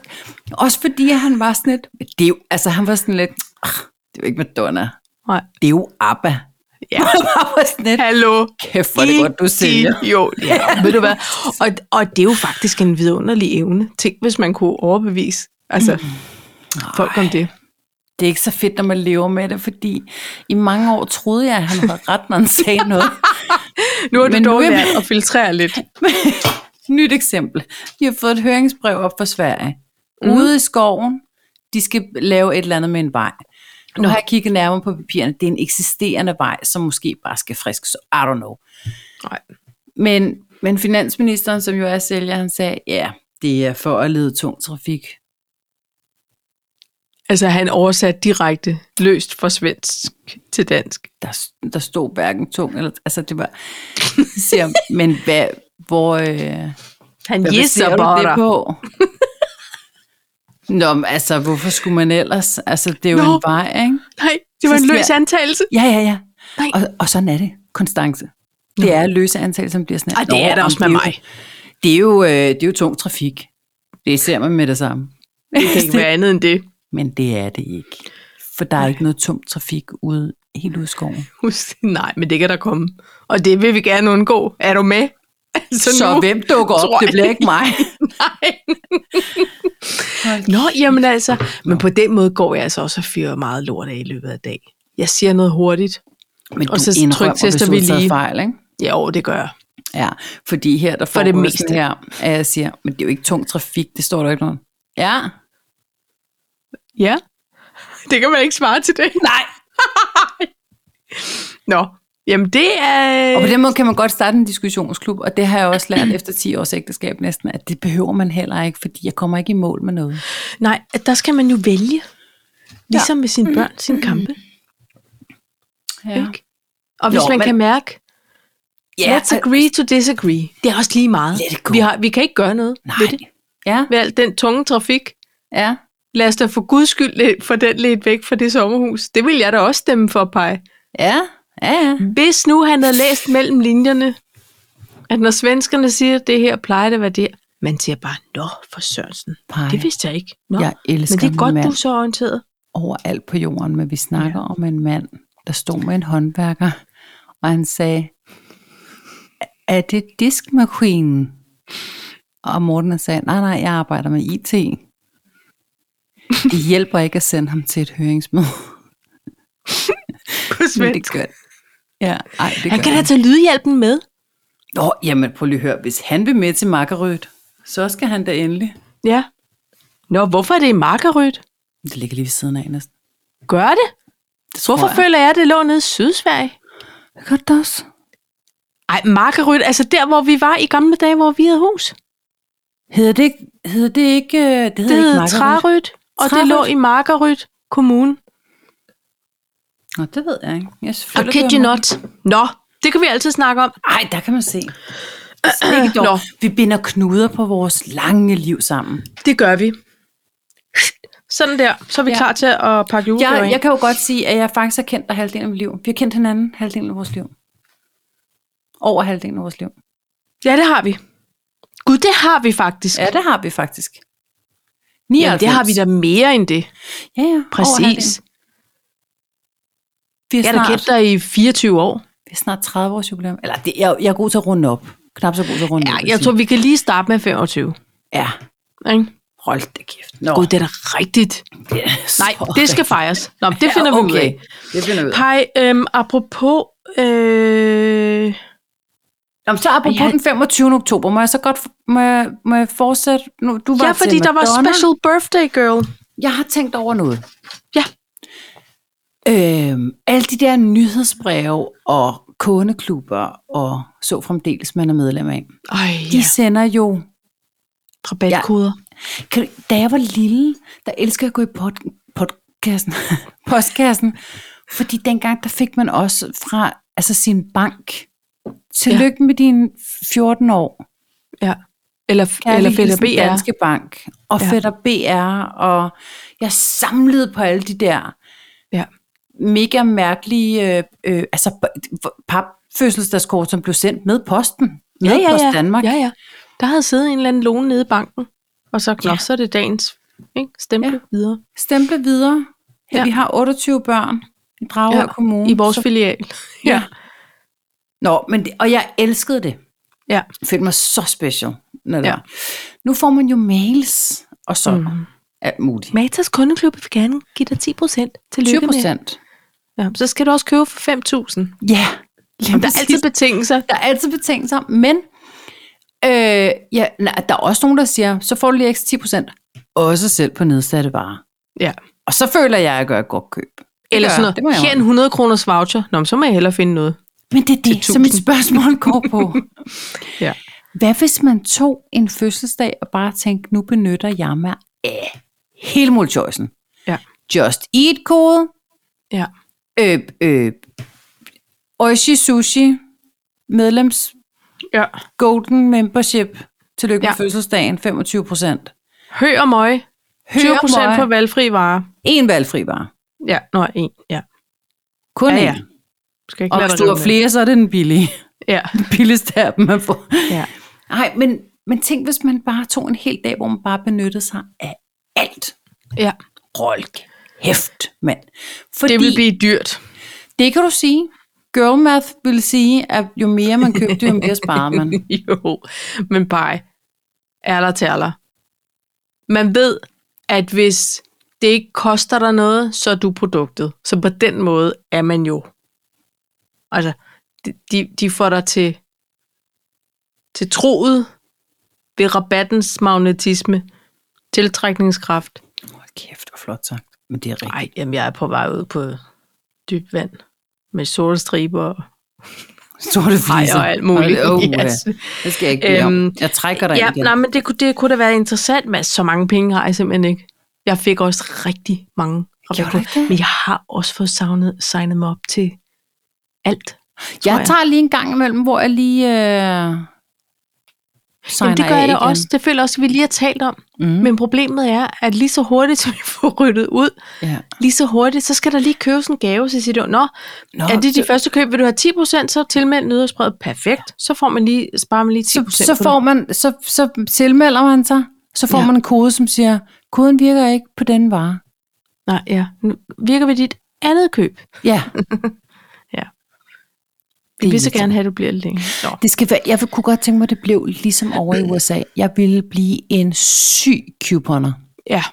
[SPEAKER 2] også fordi han var sådan lidt, det er jo, altså han var sådan lidt, "Ah, det er jo ikke Madonna,
[SPEAKER 1] Nej.
[SPEAKER 2] det er jo ABBA.
[SPEAKER 1] Ja.
[SPEAKER 2] Han var sådan lidt,
[SPEAKER 1] Hallo.
[SPEAKER 2] kæft, hvor er det godt, du sælger.
[SPEAKER 1] Jo, ja, ved du hvad? Og, og det er jo faktisk en vidunderlig evne. Tænk, hvis man kunne overbevise altså,
[SPEAKER 2] Mm.
[SPEAKER 1] folk om det.
[SPEAKER 2] Det er ikke så fedt, når man lever med det, fordi i mange år troede jeg, at han havde ret, når han sagde noget.
[SPEAKER 1] Nu har
[SPEAKER 2] Men
[SPEAKER 1] du
[SPEAKER 2] nu
[SPEAKER 1] dog
[SPEAKER 2] er man-
[SPEAKER 1] lært at filtrere lidt.
[SPEAKER 2] Nyt eksempel. De har fået et høringsbrev op fra Sverige. Ude i skoven, de skal lave et eller andet med en vej. Nu har jeg kigget nærmere på papirerne. Det er en eksisterende vej, som måske bare skal friskes. I don't know.
[SPEAKER 1] Nej.
[SPEAKER 2] Men, men finansministeren, som jo er sælger, han sagde, ja, det er for at lede tung trafik.
[SPEAKER 1] Altså, han oversat direkte, løst fra svensk til dansk.
[SPEAKER 2] Der, der stod hverken tung eller... Altså, det var... Siger, men hvad, hvor... Øh,
[SPEAKER 1] Han
[SPEAKER 2] Hvad
[SPEAKER 1] jisser
[SPEAKER 2] baserer du det
[SPEAKER 1] bare.
[SPEAKER 2] på? Nå, men altså, hvorfor skulle man ellers? Altså, det er jo
[SPEAKER 1] Nå.
[SPEAKER 2] Nå. en vej, ikke?
[SPEAKER 1] Nej, det var
[SPEAKER 2] Så
[SPEAKER 1] en
[SPEAKER 2] skal
[SPEAKER 1] løs antagelse.
[SPEAKER 2] Ja, ja, ja.
[SPEAKER 1] Nej.
[SPEAKER 2] Og, og sådan er det, Konstance. Det er løse antal, som bliver sådan
[SPEAKER 1] Ej, det
[SPEAKER 2] Nå,
[SPEAKER 1] er det
[SPEAKER 2] om
[SPEAKER 1] også med
[SPEAKER 2] jo-
[SPEAKER 1] mig.
[SPEAKER 2] Det er, jo, øh, det er jo tung trafik. Det ser man med det samme.
[SPEAKER 1] Det kan ikke være andet end det.
[SPEAKER 2] Men det er det ikke. For der er ikke noget tung trafik ude, helt ude i skoven.
[SPEAKER 1] Husk, nej, men det kan der komme. Og det vil vi gerne undgå. Er du med? Altså,
[SPEAKER 2] Så
[SPEAKER 1] nu-
[SPEAKER 2] hvem dukker
[SPEAKER 1] tror
[SPEAKER 2] op? Det
[SPEAKER 1] jeg-
[SPEAKER 2] bliver ikke mig.
[SPEAKER 1] Nej. Nå, jamen altså, men på den måde går jeg altså også og fyrer meget lort af i løbet af dag. Jeg siger noget hurtigt.
[SPEAKER 2] Men
[SPEAKER 1] Og
[SPEAKER 2] du
[SPEAKER 1] så
[SPEAKER 2] indrømmer, hvis
[SPEAKER 1] tryktester
[SPEAKER 2] du
[SPEAKER 1] vi
[SPEAKER 2] har taget
[SPEAKER 1] lige.
[SPEAKER 2] fejl, ikke?
[SPEAKER 1] Ja, og det gør jeg.
[SPEAKER 2] Ja, fordi her der får
[SPEAKER 1] det
[SPEAKER 2] det
[SPEAKER 1] meste.
[SPEAKER 2] meste sådan her, at jeg siger, men det er jo ikke tung trafik, det står der ikke noget. om." Ja.
[SPEAKER 1] Ja. Det kan man ikke svare til det.
[SPEAKER 2] Nej.
[SPEAKER 1] Nå, jamen det er...
[SPEAKER 2] Og på den måde kan man godt starte en diskussionsklub, og det har jeg også lært efter 10 års ægteskab næsten, at det behøver man heller ikke, fordi jeg kommer ikke i mål med noget.
[SPEAKER 1] Nej, der skal man jo vælge. Ligesom med sine børn, sine kampe.
[SPEAKER 2] Ja.
[SPEAKER 1] Ikke? Og hvis
[SPEAKER 2] Nå,
[SPEAKER 1] man
[SPEAKER 2] men-
[SPEAKER 1] kan mærke,
[SPEAKER 2] Ja,
[SPEAKER 1] let's agree to disagree. Det er også lige meget.
[SPEAKER 2] Let it go.
[SPEAKER 1] Vi, har, vi kan ikke gøre noget ved det.
[SPEAKER 2] nej. Ja,
[SPEAKER 1] Ved al den tunge trafik.
[SPEAKER 2] ja.
[SPEAKER 1] Lad os da for guds skyld le- få den lidt væk fra det sommerhus. Det vil jeg da også stemme for, Paj.
[SPEAKER 2] Ja, ja, ja.
[SPEAKER 1] Hvis nu han havde læst mellem linjerne, at når svenskerne siger, at det her plejer det at være det, man siger bare, nå for Sørensen,
[SPEAKER 2] Pej.
[SPEAKER 1] det vidste jeg ikke. Nå.
[SPEAKER 2] Jeg elsker
[SPEAKER 1] Men det er
[SPEAKER 2] min
[SPEAKER 1] godt,
[SPEAKER 2] mand
[SPEAKER 1] du er så orienteret.
[SPEAKER 2] overalt på jorden, men vi snakker ja. om en mand, der stod med en håndværker, og han sagde, er det diskmaskinen? Og Morten han sagde, nej, nej, jeg arbejder med IT. Det hjælper ikke at sende ham til et høringsmøde.
[SPEAKER 1] På
[SPEAKER 2] Men det gør det. Ja, ej, det
[SPEAKER 1] Han
[SPEAKER 2] gør
[SPEAKER 1] kan da
[SPEAKER 2] det.
[SPEAKER 1] tage lydhjælpen med.
[SPEAKER 2] Nå, jamen prøv lige at høre, hvis han vil med til Makkerødt, så skal han da endelig.
[SPEAKER 1] Ja. Nå, hvorfor er det i markerødt?
[SPEAKER 2] Det ligger lige ved siden af næsten.
[SPEAKER 1] Gør det?
[SPEAKER 2] Det tror
[SPEAKER 1] Hvorfor
[SPEAKER 2] jeg.
[SPEAKER 1] føler jeg, at det lå nede i Sydsverige?
[SPEAKER 2] Det gør det også.
[SPEAKER 1] Ej, markerødt, altså der, hvor vi var i gamle dage, hvor vi havde hus.
[SPEAKER 2] Hedder det ikke, hedder det ikke, øh, det hedder
[SPEAKER 1] Det
[SPEAKER 2] ikke
[SPEAKER 1] hed
[SPEAKER 2] Makkerødt?
[SPEAKER 1] Trarødt, og det lå
[SPEAKER 2] Trarødt?
[SPEAKER 1] i Markerødt Kommune.
[SPEAKER 2] Nå, det ved jeg ikke. Jeg
[SPEAKER 1] Og kid you not. Nå, det kan vi altid snakke om.
[SPEAKER 2] Ej, der kan man se. Ikke dog.
[SPEAKER 1] Nå.
[SPEAKER 2] Vi binder knuder på vores lange liv sammen.
[SPEAKER 1] Det gør vi. Sådan der, så er vi ja.
[SPEAKER 2] Ja.
[SPEAKER 1] klar til at pakke julegaver
[SPEAKER 2] Jeg,
[SPEAKER 1] ind.
[SPEAKER 2] jeg kan jo godt sige, at jeg faktisk har kendt dig halvdelen af mit liv. Vi har kendt hinanden halvdelen af vores liv. Over halvdelen af vores liv.
[SPEAKER 1] Ja, det har vi. Gud, det har vi faktisk.
[SPEAKER 2] Ja, det har vi faktisk.
[SPEAKER 1] Jamen,
[SPEAKER 2] 99.
[SPEAKER 1] det har vi da mere end det.
[SPEAKER 2] Ja, ja. over
[SPEAKER 1] Præcis.
[SPEAKER 2] halvdelen. Vi er,
[SPEAKER 1] Jeg har da
[SPEAKER 2] snart,
[SPEAKER 1] kendt dig i 24 år.
[SPEAKER 2] vi er snart 30 års jubilæum. Eller det, jeg, jeg er god til at runde op. Knap så god til at runde
[SPEAKER 1] Ja,
[SPEAKER 2] op. vil
[SPEAKER 1] jeg
[SPEAKER 2] sige.
[SPEAKER 1] tror, vi kan lige starte med 25.
[SPEAKER 2] Ja.
[SPEAKER 1] Ikke?
[SPEAKER 2] Hold da kæft. Nå,
[SPEAKER 1] Gud, det er da rigtigt.
[SPEAKER 2] det er
[SPEAKER 1] Nej,
[SPEAKER 2] så
[SPEAKER 1] det skal fejres. Nå, men det finder
[SPEAKER 2] Ja,
[SPEAKER 1] vi ud af.
[SPEAKER 2] Det finder vi ud af.
[SPEAKER 1] Pej, øhm, apropos... Øh,
[SPEAKER 2] Nå, men så apropos
[SPEAKER 1] Jeg-
[SPEAKER 2] den 25. oktober, må jeg så godt må jeg, må jeg fortsætte? Nu, du var
[SPEAKER 1] ja,
[SPEAKER 2] til
[SPEAKER 1] fordi der var
[SPEAKER 2] Madonna.
[SPEAKER 1] special birthday girl.
[SPEAKER 2] Jeg har tænkt over noget.
[SPEAKER 1] Ja.
[SPEAKER 2] Øhm, alle de der nyhedsbreve og kundeklubber og så fremdeles, man er medlem af.
[SPEAKER 1] Ej,
[SPEAKER 2] De
[SPEAKER 1] ja.
[SPEAKER 2] sender jo...
[SPEAKER 1] rabatkoder.
[SPEAKER 2] Kan, du- da jeg var lille, der elskede jeg at gå i pod, podkassen, postkassen, fordi dengang der fik man også fra altså sin bank. Tillykke ja. med dine 14 år.
[SPEAKER 1] Ja. Eller, eller E. Fælder
[SPEAKER 2] hilsen
[SPEAKER 1] BR.
[SPEAKER 2] Danske Bank og
[SPEAKER 1] ligesom Ja.
[SPEAKER 2] ja. Fætter BR, og jeg samlede på alle de der
[SPEAKER 1] Ja.
[SPEAKER 2] mega mærkelige øh, øh, altså, b- papfødselsdagskort, som blev sendt med posten. Med Post Danmark.
[SPEAKER 1] Ja, ja. Der havde siddet en eller anden lone nede i banken, og så knop, ja. så er det dagens ikke? stemple ja.
[SPEAKER 2] Ja.
[SPEAKER 1] videre
[SPEAKER 2] Stemple videre.
[SPEAKER 1] Ja.
[SPEAKER 2] Ja. Vi har 28 børn i Dragør
[SPEAKER 1] Ja,
[SPEAKER 2] ja. Kommune.
[SPEAKER 1] i vores
[SPEAKER 2] Mm, så-
[SPEAKER 1] filial.
[SPEAKER 2] Ja. Nå, men det, og jeg elskede det.
[SPEAKER 1] Ja.
[SPEAKER 2] Jeg følte mig så special. Når det
[SPEAKER 1] Ja.
[SPEAKER 2] ja. Nu får man jo mails og så
[SPEAKER 1] Mhm.
[SPEAKER 2] mm. alt muligt.
[SPEAKER 1] Matas kundeklub vil gerne give dig 10 procent.
[SPEAKER 2] 20 procent.
[SPEAKER 1] Ja, så skal du også købe for 5.000. Jamen,
[SPEAKER 2] Ja. Jamen,
[SPEAKER 1] Der er altid betingelser.
[SPEAKER 2] Der er altid betingelser, men øh, ja, nej, der er også nogen, der siger, så får du lige ekstra 10%, også selv på nedsatte varer.
[SPEAKER 1] Ja.
[SPEAKER 2] Og så føler jeg, at jeg gør et godt køb. Det
[SPEAKER 1] Eller
[SPEAKER 2] gør
[SPEAKER 1] sådan
[SPEAKER 2] jeg. Det må
[SPEAKER 1] noget.
[SPEAKER 2] jeg
[SPEAKER 1] Her en 100 kroners voucher. Nå, men så må jeg hellere finde noget.
[SPEAKER 2] Men det er det,
[SPEAKER 1] Til
[SPEAKER 2] som mit
[SPEAKER 1] 1000.
[SPEAKER 2] spørgsmål går på.
[SPEAKER 1] Ja.
[SPEAKER 2] Hvad hvis man tog en fødselsdag og bare tænkte, nu benytter jeg mig af hele multichoicen.
[SPEAKER 1] Ja.
[SPEAKER 2] Just Eat kode,
[SPEAKER 1] Ja.
[SPEAKER 2] øh, øh, Oishi Sushi, medlems
[SPEAKER 1] ja.
[SPEAKER 2] Golden Membership. Tillykke
[SPEAKER 1] Ja.
[SPEAKER 2] ja. med fødselsdagen, 25 procent.
[SPEAKER 1] Hø og møg. 20 procent på valgfri varer.
[SPEAKER 2] En valgfri vare.
[SPEAKER 1] Ja, nå, en. Ja.
[SPEAKER 2] Kun
[SPEAKER 1] Ja,
[SPEAKER 2] ja,
[SPEAKER 1] ja.
[SPEAKER 2] ja.
[SPEAKER 1] Skal ikke
[SPEAKER 2] Og
[SPEAKER 1] være
[SPEAKER 2] hvis
[SPEAKER 1] der
[SPEAKER 2] du har
[SPEAKER 1] rimeligt.
[SPEAKER 2] flere, så er det den billige.
[SPEAKER 1] Ja.
[SPEAKER 2] Den billigste af dem, man får.
[SPEAKER 1] ja.
[SPEAKER 2] Nej, men, men tænk, hvis man bare tog en hel dag, hvor man bare benyttede sig af alt.
[SPEAKER 1] ja.
[SPEAKER 2] Rolk. Hæft, mand. Fordi,
[SPEAKER 1] Det vil blive dyrt.
[SPEAKER 2] det kan du sige. Girl math vil sige, at jo mere man købte, jo mere sparer man.
[SPEAKER 1] jo, men bare ærler til ærler. Man ved, at hvis det ikke koster dig noget, så er du produktet. Så på den måde er man jo. Altså, de- de, de får dig til, til troet ved rabattens magnetisme, tiltrækningskraft.
[SPEAKER 2] Hold kæft, hvor flot sagt. Men det er rigtigt.
[SPEAKER 1] Nej, jamen jeg er på vej ud på dybt vand med sorte striber og
[SPEAKER 2] Sorte
[SPEAKER 1] ej,
[SPEAKER 2] fliser.
[SPEAKER 1] og alt muligt.
[SPEAKER 2] Oh,
[SPEAKER 1] Yes.
[SPEAKER 2] Det skal jeg ikke blive
[SPEAKER 1] Øhm,
[SPEAKER 2] om. Jeg trækker dig
[SPEAKER 1] Ja,
[SPEAKER 2] ind igen.
[SPEAKER 1] nej, men det, kunne- det kunne da være interessant, men så mange penge har jeg simpelthen ikke. Jeg fik også rigtig mange.
[SPEAKER 2] Gjorde du ikke det?
[SPEAKER 1] Men jeg har også fået savnet, signet mig op til alt. tror
[SPEAKER 2] Jeg tager lige en gang imellem, hvor jeg lige øh, signer
[SPEAKER 1] Jamen, det gør
[SPEAKER 2] af
[SPEAKER 1] jeg da
[SPEAKER 2] igen.
[SPEAKER 1] også. Det føler jeg også, vi lige har talt om.
[SPEAKER 2] Mm.
[SPEAKER 1] Mm. Men problemet er, at lige så hurtigt, som vi får ryddet ud,
[SPEAKER 2] Ja.
[SPEAKER 1] lige så hurtigt, så skal der lige købes en gave. Så siger du, nå,
[SPEAKER 2] Nå,
[SPEAKER 1] er det de
[SPEAKER 2] så,
[SPEAKER 1] første køb? Vil du have 10%, så tilmeld nyhedsbrevet. Perfekt. Så får man lige, sparer man lige 10%
[SPEAKER 2] så,
[SPEAKER 1] på
[SPEAKER 2] så, får man, så, så tilmelder man sig, så får
[SPEAKER 1] Ja.
[SPEAKER 2] ja. man en kode, som siger, koden virker ikke på den vare.
[SPEAKER 1] det. Nej, ja. Nu virker vi dit andet køb.
[SPEAKER 2] Ja.
[SPEAKER 1] Ja. Vi
[SPEAKER 2] Det,
[SPEAKER 1] vil så gerne have, at du bliver lidt længere. Nå.
[SPEAKER 2] Det skal være, jeg kunne godt tænke mig, at det blev ligesom over i USA. Jeg ville blive en syg couponer.
[SPEAKER 1] Ja.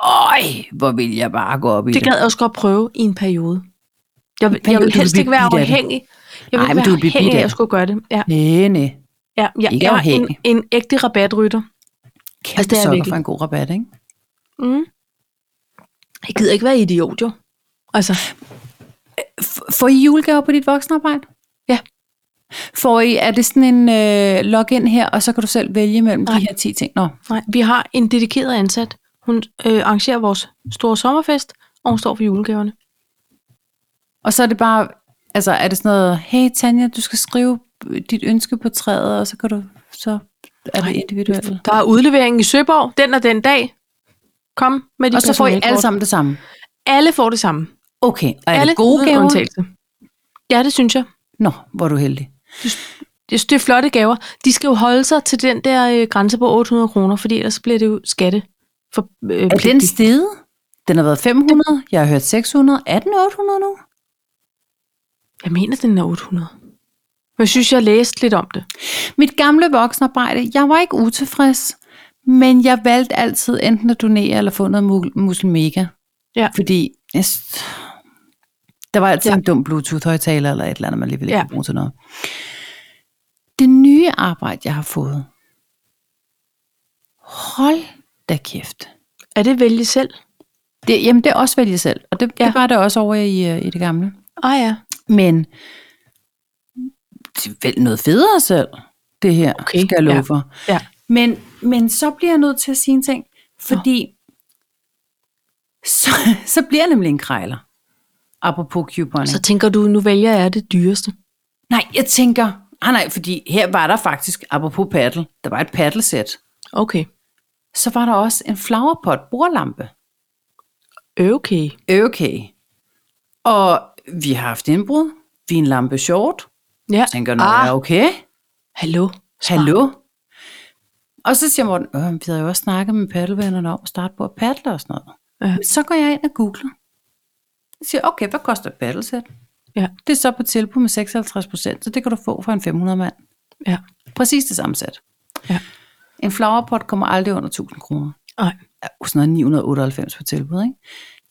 [SPEAKER 2] Øj, hvor vil jeg bare gå op i
[SPEAKER 1] Det
[SPEAKER 2] det.
[SPEAKER 1] gad jeg også godt prøve i en periode. Jeg, vil-
[SPEAKER 2] periode,
[SPEAKER 1] jeg vil
[SPEAKER 2] du vil
[SPEAKER 1] helst
[SPEAKER 2] blive
[SPEAKER 1] ikke være
[SPEAKER 2] bidt af det.
[SPEAKER 1] afhængig. Jeg vil
[SPEAKER 2] Nej,
[SPEAKER 1] ikke
[SPEAKER 2] men du
[SPEAKER 1] være
[SPEAKER 2] vil blive
[SPEAKER 1] afhængig
[SPEAKER 2] bidt
[SPEAKER 1] af,
[SPEAKER 2] af
[SPEAKER 1] at jeg
[SPEAKER 2] det.
[SPEAKER 1] skulle gøre det. Ja,
[SPEAKER 2] Næ, næ.
[SPEAKER 1] ja, jeg
[SPEAKER 2] Ikke
[SPEAKER 1] er en,
[SPEAKER 2] afhængig.
[SPEAKER 1] en ægte rabatrytter.
[SPEAKER 2] Kæmpe
[SPEAKER 1] Altså, det er jeg
[SPEAKER 2] sukker
[SPEAKER 1] virkelig.
[SPEAKER 2] for en god rabat, ikke?
[SPEAKER 1] Mm. Jeg gider ikke være idiot, jo. Altså,
[SPEAKER 2] F- får I julegaver på dit voksenarbejde?
[SPEAKER 1] Ja.
[SPEAKER 2] Får I, er det sådan en øh, login her, og så kan du selv vælge mellem
[SPEAKER 1] Nej.
[SPEAKER 2] de her 10 ting? Nå,
[SPEAKER 1] nej, vi har en dedikeret ansat. Hun øh, arrangerer vores store sommerfest, og hun står for julegaverne.
[SPEAKER 2] og så er det bare, altså er det sådan noget, hey Tanja, du skal skrive dit ønske på træet, og så kan du, så er
[SPEAKER 1] Nej.
[SPEAKER 2] det individuelt.
[SPEAKER 1] Der er udlevering i Søborg, den og den dag. Kom med de
[SPEAKER 2] Og så får I alle
[SPEAKER 1] personalekort.
[SPEAKER 2] sammen det samme.
[SPEAKER 1] Alle får det samme.
[SPEAKER 2] Okay, og er
[SPEAKER 1] alle
[SPEAKER 2] det gode
[SPEAKER 1] uden
[SPEAKER 2] gaver?
[SPEAKER 1] Undtagelse. Ja, det synes jeg.
[SPEAKER 2] Nå, hvor er du heldig.
[SPEAKER 1] Jeg synes, det er flotte gaver. De skal jo holde sig til den der øh, grænse på 800 kroner, fordi ellers bliver det jo skatte. For, øh,
[SPEAKER 2] Er den steget? Den har været 500, jeg har hørt 600. Er den 800 nu?
[SPEAKER 1] Jeg mener, den er 800. Men jeg synes, jeg læste lidt om det.
[SPEAKER 2] Mit gamle voksenarbejde, jeg var ikke utilfreds, Men jeg valgte altid enten at donere eller få noget mu- muslimega.
[SPEAKER 1] Ja.
[SPEAKER 2] Fordi jeg, s- der var altid
[SPEAKER 1] Ja.
[SPEAKER 2] ja. en dum Bluetooth-højtaler eller et eller andet, man alligevel ikke
[SPEAKER 1] Ja.
[SPEAKER 2] ja. bruge til noget. Det nye arbejde, jeg har fået. Hold da kæft.
[SPEAKER 1] Er det vælge selv?
[SPEAKER 2] Det, jamen, det er også vælge selv. Og det, ja.
[SPEAKER 1] Ja.
[SPEAKER 2] det var det også over i, øh, i det gamle.
[SPEAKER 1] Ah ja.
[SPEAKER 2] Men det er vel noget federe selv, det her,
[SPEAKER 1] Okay,
[SPEAKER 2] okay, skal jeg love
[SPEAKER 1] ja,
[SPEAKER 2] for.
[SPEAKER 1] ja.
[SPEAKER 2] Men, men så bliver jeg nødt til at sige en ting, fordi så, så bliver jeg nemlig en krejler. Apropos couponing.
[SPEAKER 1] Så tænker du, nu vælger jeg det dyreste.
[SPEAKER 2] nej, jeg tænker, ah, nej, fordi her var der faktisk, apropos paddle, der var et paddlesæt.
[SPEAKER 1] Okay.
[SPEAKER 2] Så var der også en flowerpot bordlampe.
[SPEAKER 1] Okay.
[SPEAKER 2] Okay. Og vi har haft indbrud. Vinlampe short.
[SPEAKER 1] Ja.
[SPEAKER 2] Jeg tænker, nå, ah. okay.
[SPEAKER 1] Hallo. Smart.
[SPEAKER 2] Hallo? Og så siger Morten, Åh, men vi havde jo også snakket med paddelvennerne om at starte på at paddle og sådan noget.
[SPEAKER 1] Ja.
[SPEAKER 2] Men Så går jeg ind og googler. Jeg siger, okay, hvad koster et paddelsæt?
[SPEAKER 1] Ja.
[SPEAKER 2] Det er så på tilbud med 56 procent, så det kan du få for en 500 mand.
[SPEAKER 1] Ja.
[SPEAKER 2] Præcis det samme sæt.
[SPEAKER 1] Ja.
[SPEAKER 2] En flowerpot kommer aldrig under 1000 kroner.
[SPEAKER 1] Nej.
[SPEAKER 2] Ja, Sådan noget 998 på tilbud, ikke?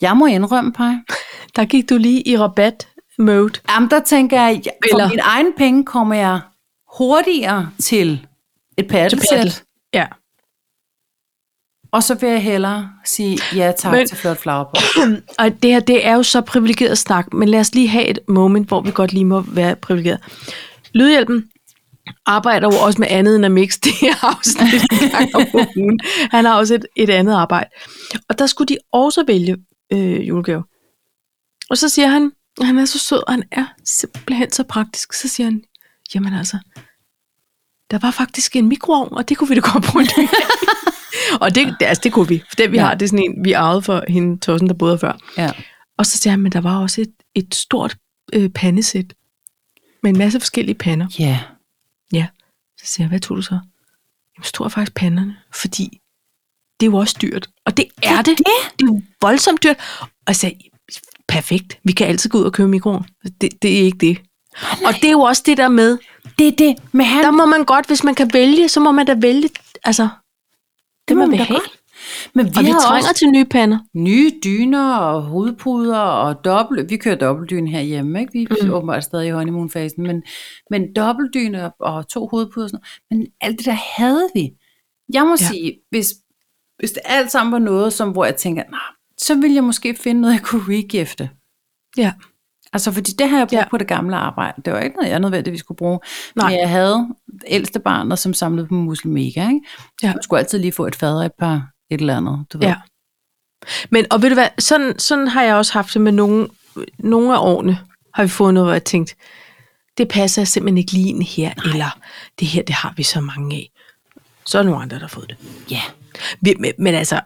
[SPEAKER 2] Jeg må indrømme, Paj.
[SPEAKER 1] Der gik du lige i rabat-mode.
[SPEAKER 2] Jamen, der tænker jeg, jeg for
[SPEAKER 1] Eller-
[SPEAKER 2] Eller... min egen penge kommer jeg hurtigere til et
[SPEAKER 1] paddel.
[SPEAKER 2] paddelsæt,
[SPEAKER 1] Ja.
[SPEAKER 2] Og så vil jeg hellere sige ja tak
[SPEAKER 1] Men-
[SPEAKER 2] men, til flot flowerpot.
[SPEAKER 1] Og det her, det er jo så privilegeret snak, men lad os lige have et moment, hvor vi godt lige må være privilegeret. Lydhjælpen arbejder jo også med andet end at mixe det her afsnit en gang om ugen. Han har også et, et andet arbejde. Og der skulle de også vælge øh, julegave. Og så siger han, han er så sød, og han er simpelthen så praktisk. Så siger han, jamen altså, der var faktisk en mikroovn, og det kunne vi da godt bruge. en ny af." og det, det, altså, det kunne vi. For den vi
[SPEAKER 2] Ja.
[SPEAKER 1] har, det er sådan en, vi arvede for hende, Tossen, der boede her før.
[SPEAKER 2] Ja.
[SPEAKER 1] Og så siger han, men der var også et, et stort øh, pandesæt med en masse forskellige pander.
[SPEAKER 2] ja.
[SPEAKER 1] Ja. Så siger jeg, hvad tog du så? Jamen, så tog jeg faktisk panderne, fordi det er jo også dyrt. Og det er det. Det, det er jo voldsomt dyrt. Og jeg sagde, perfekt, vi kan altid gå ud og købe mikroen. Det, det er ikke det. Og det er jo også det der med,
[SPEAKER 2] Det er det. Men han,
[SPEAKER 1] der må man godt, hvis man kan vælge, så må man da vælge, altså, det man vil have.
[SPEAKER 2] Men vi,
[SPEAKER 1] og vi
[SPEAKER 2] har
[SPEAKER 1] trænger
[SPEAKER 2] også
[SPEAKER 1] til nye pander.
[SPEAKER 2] nye dyner og hovedpuder og dobbelt. Vi kører dobbeltdyne herhjemme, ikke? Vi er mm. åbenbart stadig i honeymoon-fasen. Men, men dobbeltdyne og- og to hovedpuder og sådan noget. Men alt det der havde vi. Jeg må
[SPEAKER 1] Ja.
[SPEAKER 2] ja. sige, hvis, hvis det alt sammen var noget, som, hvor jeg tænker, nah, så ville jeg måske finde noget, jeg kunne regifte.
[SPEAKER 1] Ja.
[SPEAKER 2] Altså, fordi det har jeg brugt
[SPEAKER 1] Ja.
[SPEAKER 2] ja. på det gamle arbejde. Det var ikke noget, jeg nødvendigvis skulle bruge.
[SPEAKER 1] Nej.
[SPEAKER 2] Nej. Men jeg havde ældste barnet, som samlede på muslimega, ikke?
[SPEAKER 1] Ja.
[SPEAKER 2] Ja. Man skulle altid lige få et fader et par et eller andet, du ved.
[SPEAKER 1] Ja. Men, og ved du hvad, sådan, sådan har jeg også haft det med nogle, nogle af årene, har vi fået noget, hvor jeg tænkt, det passer jeg simpelthen ikke lige ind her, Nej. eller det her, det har vi så mange af. Så er der nogle andre, der har fået det.
[SPEAKER 2] ja.
[SPEAKER 1] Vi- Men, men altså,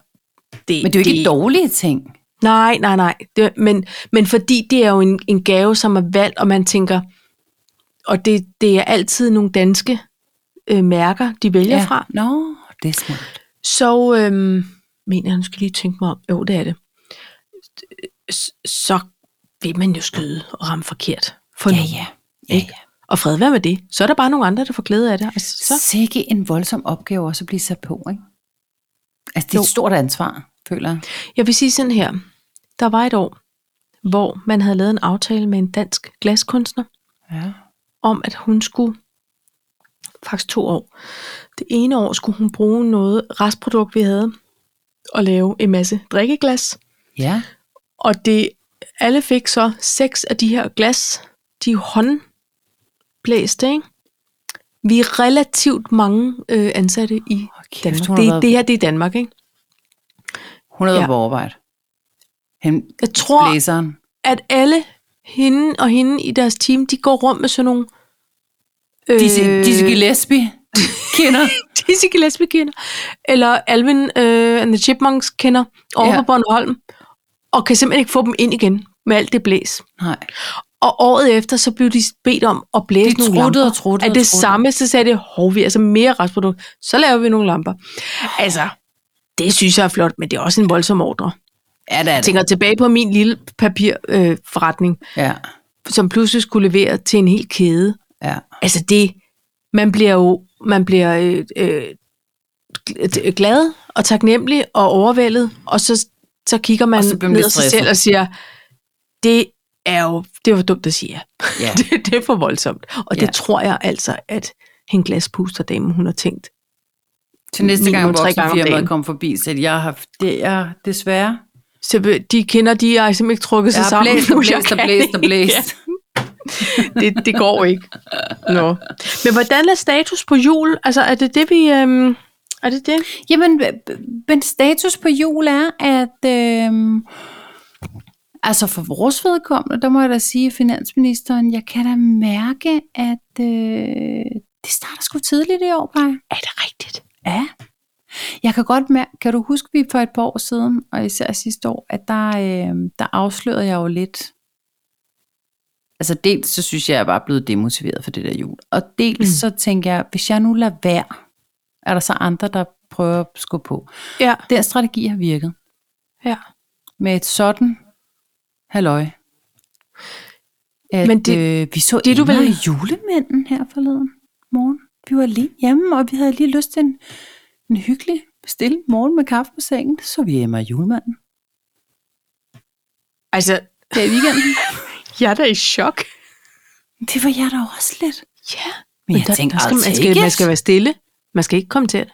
[SPEAKER 1] det,
[SPEAKER 2] Men det er jo ikke dårlige ting.
[SPEAKER 1] Nej, nej, nej. Det, men, men fordi det er jo en, en gave, som er valgt, og man tænker, og det, det er altid nogle danske øh, mærker, de vælger ja. fra,
[SPEAKER 2] Nå, det er smart.
[SPEAKER 1] så øhm, mener jeg, nu skal jeg lige tænke mig om, jo det er det, S- så vil man jo skyde og ramme forkert. For
[SPEAKER 2] Ja,
[SPEAKER 1] nogen,
[SPEAKER 2] ja. Ja,
[SPEAKER 1] ikke?
[SPEAKER 2] ja.
[SPEAKER 1] Og fred være med det. Så er der bare nogle andre, der får glæde af det. Altså, så,
[SPEAKER 2] Sikke en voldsom opgave også at blive sat på, ikke? Altså, det er
[SPEAKER 1] Jo.
[SPEAKER 2] et stort ansvar, føler jeg.
[SPEAKER 1] jeg vil sige sådan her. Der var et år, hvor man havde lavet en aftale med en dansk glaskunstner,
[SPEAKER 2] Ja.
[SPEAKER 1] om at hun skulle, faktisk to år, det ene år skulle hun bruge noget restprodukt, vi havde, og lave en masse drikkeglas.
[SPEAKER 2] Ja.
[SPEAKER 1] Og det, alle fik så seks af de her glas, de er håndblæste, ikke? Vi er relativt mange øh, ansatte i
[SPEAKER 2] Okay,
[SPEAKER 1] Danmark.
[SPEAKER 2] hun har
[SPEAKER 1] Det,
[SPEAKER 2] været,
[SPEAKER 1] det her, det er Danmark, ikke?
[SPEAKER 2] hun har været
[SPEAKER 1] Ja.
[SPEAKER 2] på arbejde. Hen,
[SPEAKER 1] Jeg tror,
[SPEAKER 2] blæseren.
[SPEAKER 1] at alle hende og hende i deres team, de går rundt med sådan nogle... Øh,
[SPEAKER 2] Disse, disse Gillespie kender.
[SPEAKER 1] Dizzy Gillespie kender, eller Alvin øh, and the Chipmunks kender over
[SPEAKER 2] Ja.
[SPEAKER 1] på Bornholm, og kan simpelthen ikke få dem ind igen med alt det blæs.
[SPEAKER 2] Nej.
[SPEAKER 1] Og året efter, så blev de bedt om at blæse
[SPEAKER 2] De
[SPEAKER 1] nogle
[SPEAKER 2] truttede
[SPEAKER 1] lamper.
[SPEAKER 2] og truttede
[SPEAKER 1] Af
[SPEAKER 2] og
[SPEAKER 1] det
[SPEAKER 2] truttede.
[SPEAKER 1] samme, så sagde de, hov, vi er altså mere restprodukt, så laver vi nogle lamper. Altså, det synes jeg er flot, men det er også en voldsom ordre.
[SPEAKER 2] Ja, det er
[SPEAKER 1] Jeg tænker tilbage på min lille papirforretning, øh, forretning,
[SPEAKER 2] Ja,
[SPEAKER 1] som pludselig skulle levere til en hel kæde.
[SPEAKER 2] ja.
[SPEAKER 1] Altså det, man bliver jo, man bliver øh, øh, gl- glad og taknemmelig og overvældet, og så, så kigger man,
[SPEAKER 2] Og
[SPEAKER 1] så
[SPEAKER 2] så bliver man
[SPEAKER 1] ned
[SPEAKER 2] lidt
[SPEAKER 1] af sig
[SPEAKER 2] stresset.
[SPEAKER 1] selv og siger, det er jo, det var dumt at sige ja.
[SPEAKER 2] Ja.
[SPEAKER 1] det, det er for voldsomt. Og ja.
[SPEAKER 2] Ja.
[SPEAKER 1] det tror jeg altså, at hende glaspusterdamen, hun har tænkt,
[SPEAKER 2] Til næste gang
[SPEAKER 1] minimum tre gange om dagen.
[SPEAKER 2] voksenfirmaet kommer forbi, så jeg har det er desværre.
[SPEAKER 1] så vil- de kender, de har simpelthen ikke trukket sig
[SPEAKER 2] Jeg har
[SPEAKER 1] sammen.
[SPEAKER 2] blæst og
[SPEAKER 1] nu, jeg
[SPEAKER 2] blæst og
[SPEAKER 1] kan
[SPEAKER 2] blæst og
[SPEAKER 1] ikke."
[SPEAKER 2] blæst.
[SPEAKER 1] det, det går ikke. Nå. Men hvordan er status på jul? Altså, er det det, vi... Øhm, er det det?
[SPEAKER 2] Jamen, men status på jul er, at øhm, altså for vores vedkommende, der må jeg da sige, finansministeren, jeg kan da mærke, at øh, det starter sgu tidligt i år, Paj.
[SPEAKER 1] Er det rigtigt?
[SPEAKER 2] Ja. Jeg kan godt mærke, kan du huske, vi for et par år siden, og især sidste år, at der, øh, der afslørede jeg jo lidt. Altså dels så synes jeg, jeg var blevet demotiveret for det der jul. Og dels
[SPEAKER 1] Mm.
[SPEAKER 2] mm. så tænker jeg, hvis jeg nu lader være, er der så andre, der prøver at skubbe på.
[SPEAKER 1] Ja.
[SPEAKER 2] Den strategi har virket.
[SPEAKER 1] Ja.
[SPEAKER 2] Med et sådan halløj.
[SPEAKER 1] Men
[SPEAKER 2] At, Men
[SPEAKER 1] det-
[SPEAKER 2] det, øh, vi så
[SPEAKER 1] det,
[SPEAKER 2] det,
[SPEAKER 1] du
[SPEAKER 2] du
[SPEAKER 1] vel-
[SPEAKER 2] i julemanden her forleden morgen. Vi var lige hjemme, og vi havde lige lyst til en, en hyggelig, stille morgen med kaffe på sengen. Så vi Emma og julemanden.
[SPEAKER 1] Altså,
[SPEAKER 2] Det er weekenden.
[SPEAKER 1] jeg er da i chok.
[SPEAKER 2] det var jeg da også lidt.
[SPEAKER 1] Ja.
[SPEAKER 2] Men jeg
[SPEAKER 1] der-
[SPEAKER 2] tænkte,
[SPEAKER 1] der skal, man,
[SPEAKER 2] altså
[SPEAKER 1] skal,
[SPEAKER 2] ikke.
[SPEAKER 1] man skal være stille. Man skal ikke komme til det.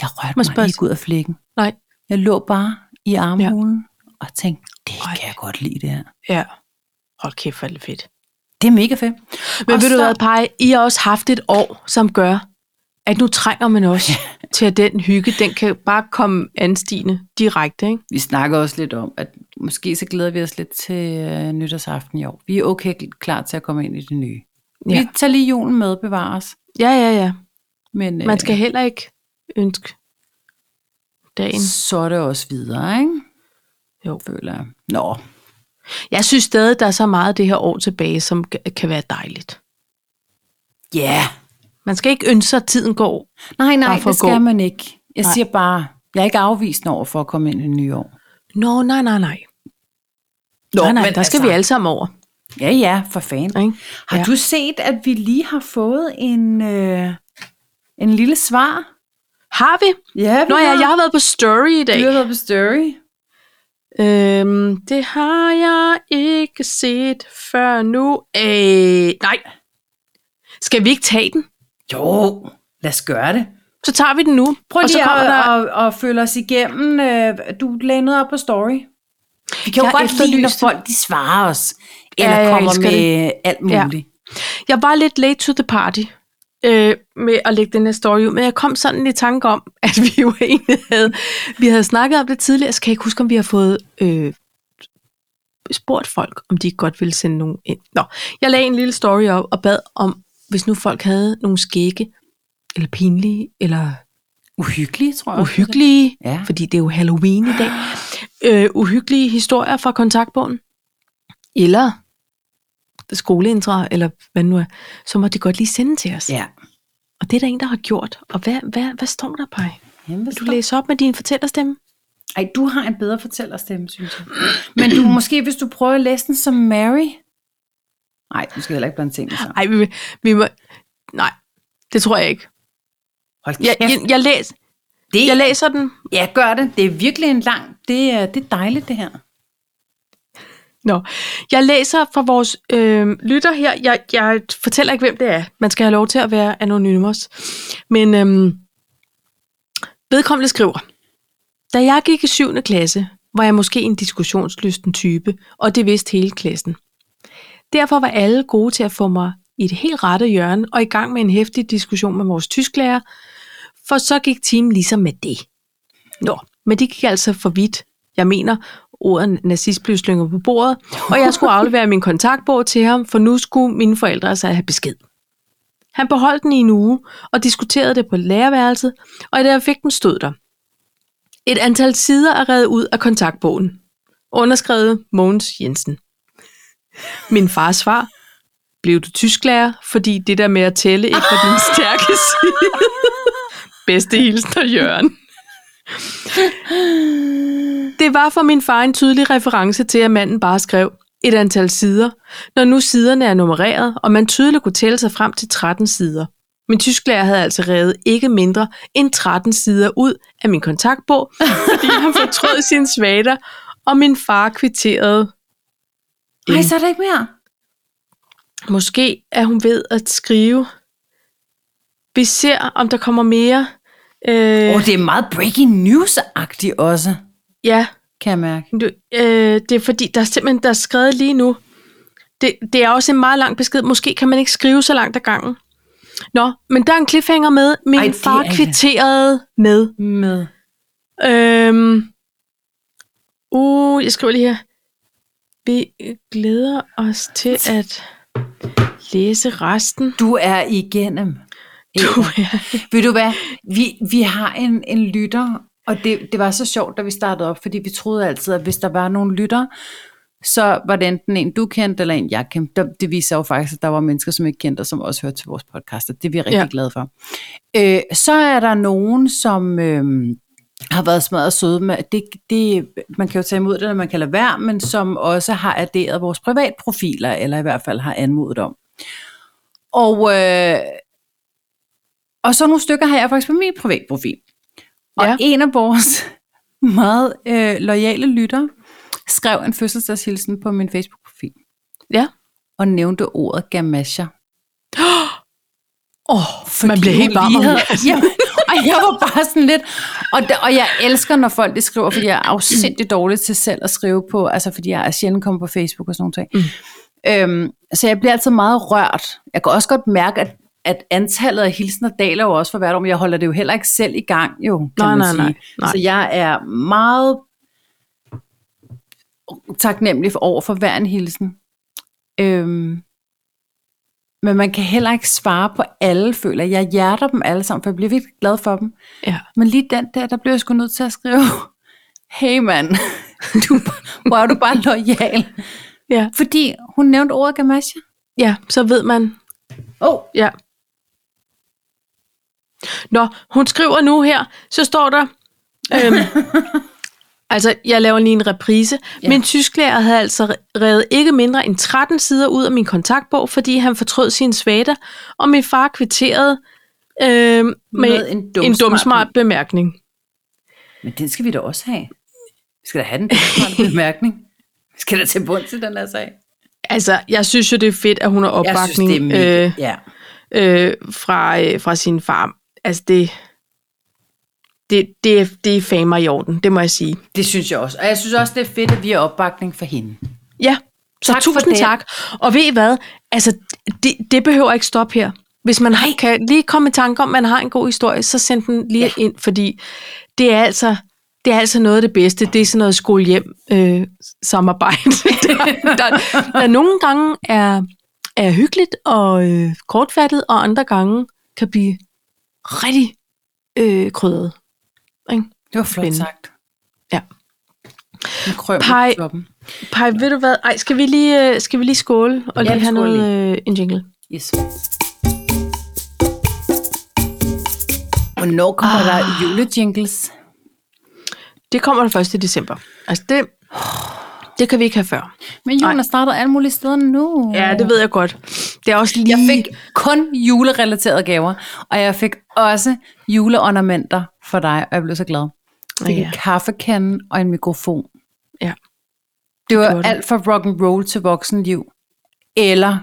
[SPEAKER 2] Jeg rørte
[SPEAKER 1] Må
[SPEAKER 2] mig
[SPEAKER 1] spørge-
[SPEAKER 2] ikke ud af flækken.
[SPEAKER 1] Nej.
[SPEAKER 2] Jeg lå bare i armhulen ja. og tænkte, det
[SPEAKER 1] Ej.
[SPEAKER 2] kan jeg godt lide det her.
[SPEAKER 1] Ja. Hold kæft, hvor er det fedt.
[SPEAKER 2] Det er mega fedt.
[SPEAKER 1] Men
[SPEAKER 2] Og
[SPEAKER 1] ved du
[SPEAKER 2] så-
[SPEAKER 1] hvad, Paj? I har også haft et år, som gør, at nu trænger man også til, at den hygge, den kan bare komme anstigende direkte, ikke?
[SPEAKER 2] Vi snakker også lidt om, at måske så glæder vi os lidt til øh, nytårsaften i år. Vi er okay klar til at komme ind i det nye. Ja.
[SPEAKER 1] Ja.
[SPEAKER 2] Vi tager lige julen med, bevares.
[SPEAKER 1] Ja, ja, ja.
[SPEAKER 2] Men øh,
[SPEAKER 1] Man skal heller ikke ønske dagen.
[SPEAKER 2] så er det også videre, ikke?
[SPEAKER 1] Jo.
[SPEAKER 2] Føler jeg. Nå,
[SPEAKER 1] Jeg synes stadig, der er så meget af det her år tilbage, som g- kan være dejligt.
[SPEAKER 2] ja. Yeah.
[SPEAKER 1] Man skal ikke ønske sig, at tiden går.
[SPEAKER 2] Nej, nej,
[SPEAKER 1] Bare for
[SPEAKER 2] det
[SPEAKER 1] at gå.
[SPEAKER 2] skal man ikke.
[SPEAKER 1] Nej.
[SPEAKER 2] Jeg nej. siger bare, jeg er ikke afvist over for at komme ind i det nye år.
[SPEAKER 1] Nå, nej, nej, nej. Nå, altså- nej, nej, der skal vi alle sammen over.
[SPEAKER 2] Ja, ja, for fanden.
[SPEAKER 1] Ikke?
[SPEAKER 2] Har
[SPEAKER 1] Ja.
[SPEAKER 2] ja. du set, at vi lige har fået en, øh, en lille svar?
[SPEAKER 1] Har vi?
[SPEAKER 2] Ja, vi
[SPEAKER 1] Nå ja, jeg
[SPEAKER 2] har.
[SPEAKER 1] har været på story i dag.
[SPEAKER 2] Du har været på story.
[SPEAKER 1] Øhm, det har jeg ikke set før nu. Øh, nej. Skal vi ikke tage den?
[SPEAKER 2] Jo, lad os gøre det.
[SPEAKER 1] Så tager vi den nu.
[SPEAKER 2] Prøv
[SPEAKER 1] og så
[SPEAKER 2] lige at,
[SPEAKER 1] kommer der...
[SPEAKER 2] der... at, at følge os igennem. øh, Du lagde noget op på story. Vi kan
[SPEAKER 1] Jeg efterlyste-
[SPEAKER 2] folk de svarer os.
[SPEAKER 1] Ja, jeg elsker
[SPEAKER 2] alt
[SPEAKER 1] Ja. Jeg var lidt late to the party øh, med at lægge den her story ud, men jeg kom sådan i tanke om, at vi jo egentlig havde, vi havde snakket om det tidligere, så kan jeg ikke huske, om vi har fået øh, spurgt folk, om de godt ville sende nogen ind. Nå, jeg lagde en lille story op og bad om, hvis nu folk havde nogle skægge, eller pinlige, eller
[SPEAKER 2] Uhyggelige, tror jeg.
[SPEAKER 1] uhyggelige,
[SPEAKER 2] Ja.
[SPEAKER 1] fordi det er jo Halloween i dag, øh, uhyggelige historier fra kontaktbogen, eller skoleindre, eller hvad det nu er, så må de godt lige sende til os.
[SPEAKER 2] Ja.
[SPEAKER 1] Og det er der en, der har gjort. Og hvad, hvad, hvad står der, Paj?
[SPEAKER 2] Jamen,
[SPEAKER 1] Vil du læse op med din fortællerstemme?
[SPEAKER 2] Ej, du har en bedre fortællerstemme, synes jeg. Men du, måske hvis du prøver at læse den som Mary. Nej, du skal heller ikke blande tingene sammen.
[SPEAKER 1] Nej, vi, vi må... Nej, det tror jeg ikke.
[SPEAKER 2] Hold
[SPEAKER 1] Jeg, jeg, jeg, læs,
[SPEAKER 2] det,
[SPEAKER 1] jeg læser den.
[SPEAKER 2] ja, gør det. Det er virkelig en lang... Det er, det er dejligt, det her.
[SPEAKER 1] Nå, jeg læser fra vores øh, lytter her. Jeg, jeg fortæller ikke, hvem det er. Man skal have lov til at være anonymous. Men øh, vedkommende skriver, Da jeg gik i 7. klasse, var jeg måske en diskussionslysten type, og det vidste hele klassen. Derfor var alle gode til at få mig i det helt rette hjørne og i gang med en hæftig diskussion med vores tysklærer, for så gik timen ligesom med det. Nå, men det gik altså for vidt. Jeg mener, ordet nazist blev slynget på bordet, og jeg skulle aflevere min kontaktbog til ham, for nu skulle mine forældre altså have besked. Han beholdt den i en uge og diskuterede det på lærerværelset, og da jeg fik den stod der. Et antal sider er reddet ud af kontaktbogen. Underskrevet Mogens Jensen. Min fars svar. Blev du tysklærer, fordi det der med at tælle ikke var din stærke side? Bedste hilsner, Jørgen. Det var for min far en tydelig reference til, at manden bare skrev et antal sider, når nu siderne er nummereret, og man tydeligt kunne tælle sig frem til 13 sider. Min tysklærer havde altså revet ikke mindre end 13 sider ud af min kontaktbog, fordi han fortrød sine svater, og min far kvitterede.
[SPEAKER 2] Nej, så er der ikke mere.
[SPEAKER 1] Måske er hun ved at skrive. Vi ser, om der kommer mere. Øh,
[SPEAKER 2] Åh, oh, det er meget breaking news-agtigt også,
[SPEAKER 1] Ja,
[SPEAKER 2] kan jeg mærke.
[SPEAKER 1] du, øh, det er fordi, der er simpelthen der er skrevet lige nu. Det, det er også en meget lang besked. Måske kan man ikke skrive så langt ad gangen. Nå, men der er en cliffhanger med. Min
[SPEAKER 2] Ej,
[SPEAKER 1] Ej,
[SPEAKER 2] det
[SPEAKER 1] far
[SPEAKER 2] er-
[SPEAKER 1] kvitterede med.
[SPEAKER 2] Med.
[SPEAKER 1] Øhm, uh, jeg skriver lige her. Vi glæder os til at læse resten.
[SPEAKER 2] Du er igennem.
[SPEAKER 1] Du
[SPEAKER 2] Eva.
[SPEAKER 1] er
[SPEAKER 2] Ved du hvad? Vi, vi har en, en lytter, og det, det var så sjovt, da vi startede op, fordi vi troede altid, at hvis der var nogle lytter, så var det enten en, du kendte, eller en, jeg kendte. Der- Det viser jo faktisk, at der var mennesker, som ikke kendte, og som også hørte til vores podcast, og det er vi rigtig ja.
[SPEAKER 1] Ja.
[SPEAKER 2] glade for. Øh, så er der nogen, som øh, har været smadret søde med, det, det, man kan jo tage imod det, eller man kan lade være, men som også har adderet vores privatprofiler, eller i hvert fald har anmodet om. Og øh, og så nogle stykker har jeg faktisk på min privatprofil. Og ja.
[SPEAKER 1] Ja.
[SPEAKER 2] en af vores meget øh, loyale lytter skrev en fødselsdagshilsen på min Facebook-profil
[SPEAKER 1] Ja.
[SPEAKER 2] og nævnte ordet gamasha.
[SPEAKER 1] Oh, man bliver helt varm. om
[SPEAKER 2] havde,
[SPEAKER 1] hjertet.
[SPEAKER 2] jamen, og jeg var bare sådan lidt... Og, da, og jeg elsker, når folk de skriver, fordi jeg er afsindig dårlig til selv at skrive på, altså fordi jeg er sjældent kommet på Facebook og sådan noget. Mm. Øhm, så jeg bliver altid meget rørt. Jeg kan også godt mærke, at, at antallet af hilsener daler jo også for hvert år, men jeg holder det jo heller ikke selv i gang, jo, kan
[SPEAKER 1] Nej,
[SPEAKER 2] man
[SPEAKER 1] nej,
[SPEAKER 2] sige.
[SPEAKER 1] nej, nej.
[SPEAKER 2] Så jeg er meget taknemmelig for, over for hver en hilsen. Øhm, men man kan heller ikke svare på alle, føler jeg. Jeg hjerter dem alle sammen, for jeg bliver virkelig glad for dem.
[SPEAKER 1] Ja.
[SPEAKER 2] Men lige den der, der bliver jeg sgu nødt til at skrive, hey mand, du, hvor er du bare lojal.
[SPEAKER 1] Ja.
[SPEAKER 2] Fordi hun nævnte ordet gamasha.
[SPEAKER 1] ja, så ved man.
[SPEAKER 2] Åh, oh,
[SPEAKER 1] Ja. Nå, hun skriver nu her, så står der... Øhm, altså, jeg laver lige en reprise.
[SPEAKER 2] Ja.
[SPEAKER 1] Ja. Min tysklærer havde altså revet ikke mindre end 13 sider ud af min kontaktbog, fordi han fortrød sine svater, og min far kvitterede øhm, med,
[SPEAKER 2] med
[SPEAKER 1] med
[SPEAKER 2] en
[SPEAKER 1] en,
[SPEAKER 2] dum,
[SPEAKER 1] en dumsmart bemærkning.
[SPEAKER 2] Men den skal vi da også have. Vi skal da have den dumsmarte bemærkning. Vi skal da til bund til den her sag.
[SPEAKER 1] Altså, jeg synes jo, det er fedt, at hun har
[SPEAKER 2] Jeg
[SPEAKER 1] opbakning.
[SPEAKER 2] synes, det er mega.
[SPEAKER 1] øh,
[SPEAKER 2] ja.
[SPEAKER 1] øh, fra, øh, fra sin far. Altså det, det, det, er- det er famer i orden, det må jeg sige.
[SPEAKER 2] Det synes jeg også. Og jeg synes også, det er fedt, at vi har opbakning for hende.
[SPEAKER 1] Ja, så
[SPEAKER 2] Tak
[SPEAKER 1] tak
[SPEAKER 2] for
[SPEAKER 1] tusind
[SPEAKER 2] det.
[SPEAKER 1] tak. Og ved I hvad? Altså, det, det behøver ikke stoppe her. Hvis man har, kan lige komme i tanke om, at man har en god historie, så send den lige
[SPEAKER 2] Ja.
[SPEAKER 1] ja. ind, fordi det er altså... Det er altså noget af det bedste. Det er sådan noget øh, skole-hjem-samarbejde. der, der, der nogle gange er, er hyggeligt og øh, kortfattet, og andre gange kan blive rigtig øh, krydret.
[SPEAKER 2] Det var flot
[SPEAKER 1] Spændende.
[SPEAKER 2] sagt.
[SPEAKER 1] Ja.
[SPEAKER 2] En krøm
[SPEAKER 1] Pej.
[SPEAKER 2] på toppen.
[SPEAKER 1] Pej, ved du hvad? Ej, skal vi lige, øh, skal vi lige skåle og
[SPEAKER 2] Ja,
[SPEAKER 1] lige
[SPEAKER 2] vi
[SPEAKER 1] have
[SPEAKER 2] skåler
[SPEAKER 1] noget, øh, en jingle?
[SPEAKER 2] Yes. Hvornår kommer ah. der julejingles?
[SPEAKER 1] Det kommer den 1. december. Altså det, det kan vi ikke have før.
[SPEAKER 2] Men julen er startet alle mulige steder nu.
[SPEAKER 1] Ja, det ved jeg godt. Det er også lige...
[SPEAKER 2] Jeg fik kun julerelaterede gaver, og jeg fik også juleornamenter for dig, og jeg blev så glad. Jeg fik
[SPEAKER 1] Ja.
[SPEAKER 2] en kaffekande og en mikrofon.
[SPEAKER 1] Ja.
[SPEAKER 2] Det var
[SPEAKER 1] gjorde du.
[SPEAKER 2] alt fra rock and roll til voksenliv. Eller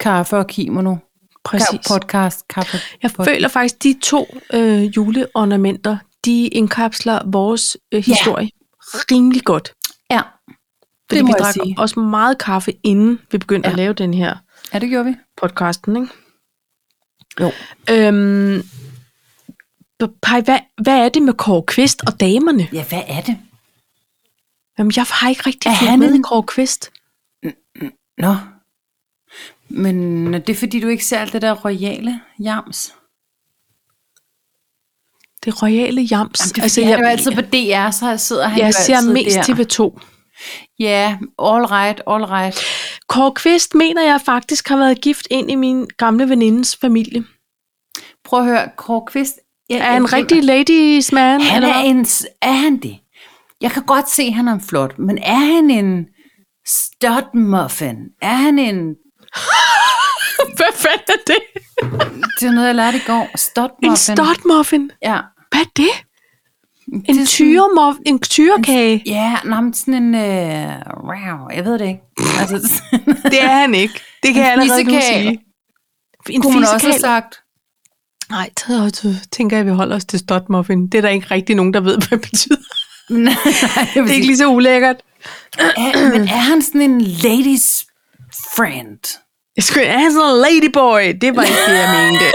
[SPEAKER 2] kaffe og kimono.
[SPEAKER 1] Præcis.
[SPEAKER 2] Podcast, kaffe.
[SPEAKER 1] Jeg føler faktisk, de to øh, juleornamenter, de indkapsler vores øh, historie rimelig godt.
[SPEAKER 2] Ja.
[SPEAKER 1] Fordi
[SPEAKER 2] Det må
[SPEAKER 1] vi
[SPEAKER 2] jeg
[SPEAKER 1] drak
[SPEAKER 2] sige.
[SPEAKER 1] også meget kaffe, inden vi begyndte
[SPEAKER 2] Ja.
[SPEAKER 1] ja. at lave den her
[SPEAKER 2] Ja, det gjorde vi.
[SPEAKER 1] podcasten, ikke?
[SPEAKER 2] Jo.
[SPEAKER 1] Øhm, Paj, hvad, hvad er det med Kåre Kvist og damerne?
[SPEAKER 2] Ja, hvad er det?
[SPEAKER 1] Jamen, jeg har ikke rigtig
[SPEAKER 2] Er
[SPEAKER 1] fulgt
[SPEAKER 2] han
[SPEAKER 1] med
[SPEAKER 2] en-
[SPEAKER 1] i Kåre Kvist.
[SPEAKER 2] Nå. Men det er fordi, du ikke ser alt det der royale jams.
[SPEAKER 1] Det royale jams.
[SPEAKER 2] Jamen, det er, altså, jeg, han er jo altid på DR, så sidder han jo
[SPEAKER 1] jeg ser
[SPEAKER 2] altid
[SPEAKER 1] mest
[SPEAKER 2] der.
[SPEAKER 1] TV2.
[SPEAKER 2] Ja, all right, all right.
[SPEAKER 1] Kåre Kvist mener jeg faktisk har været gift ind i min gamle venindes familie.
[SPEAKER 2] Prøv at høre, Kåre Kvist. Jeg,
[SPEAKER 1] Er han en rigtig ladies man?
[SPEAKER 2] Han
[SPEAKER 1] eller
[SPEAKER 2] er,
[SPEAKER 1] hvad?
[SPEAKER 2] en, s- er han det? Jeg kan godt se, at han er en flot, men er han en stud muffin? Er han en...
[SPEAKER 1] Hvad fanden er det?
[SPEAKER 2] Det er noget, jeg lærte i går. Stotmuffin.
[SPEAKER 1] En stotmuffin?
[SPEAKER 2] Ja.
[SPEAKER 1] Hvad er det?
[SPEAKER 2] det er
[SPEAKER 1] En, tyremuff, en tyrekage?
[SPEAKER 2] Ja, nej, men sådan en... Øh, wow, jeg ved det ikke. Altså,
[SPEAKER 1] Det er han ikke. Det kan
[SPEAKER 2] En
[SPEAKER 1] jeg allerede nu
[SPEAKER 2] fisekal.
[SPEAKER 1] sige. En
[SPEAKER 2] kunne man også have
[SPEAKER 1] fisekal?
[SPEAKER 2] sagt.
[SPEAKER 1] Nej, så tænker jeg, at vi holder os til stotmuffin. Det er der ikke rigtig nogen, der ved, hvad det betyder.
[SPEAKER 2] Nej, jeg
[SPEAKER 1] Det
[SPEAKER 2] vil
[SPEAKER 1] er ikke
[SPEAKER 2] sige,
[SPEAKER 1] lige så ulækkert.
[SPEAKER 2] er, men er han sådan en ladies friend?
[SPEAKER 1] Jeg skulle have sådan en ladyboy. Det var ikke det, jeg mente.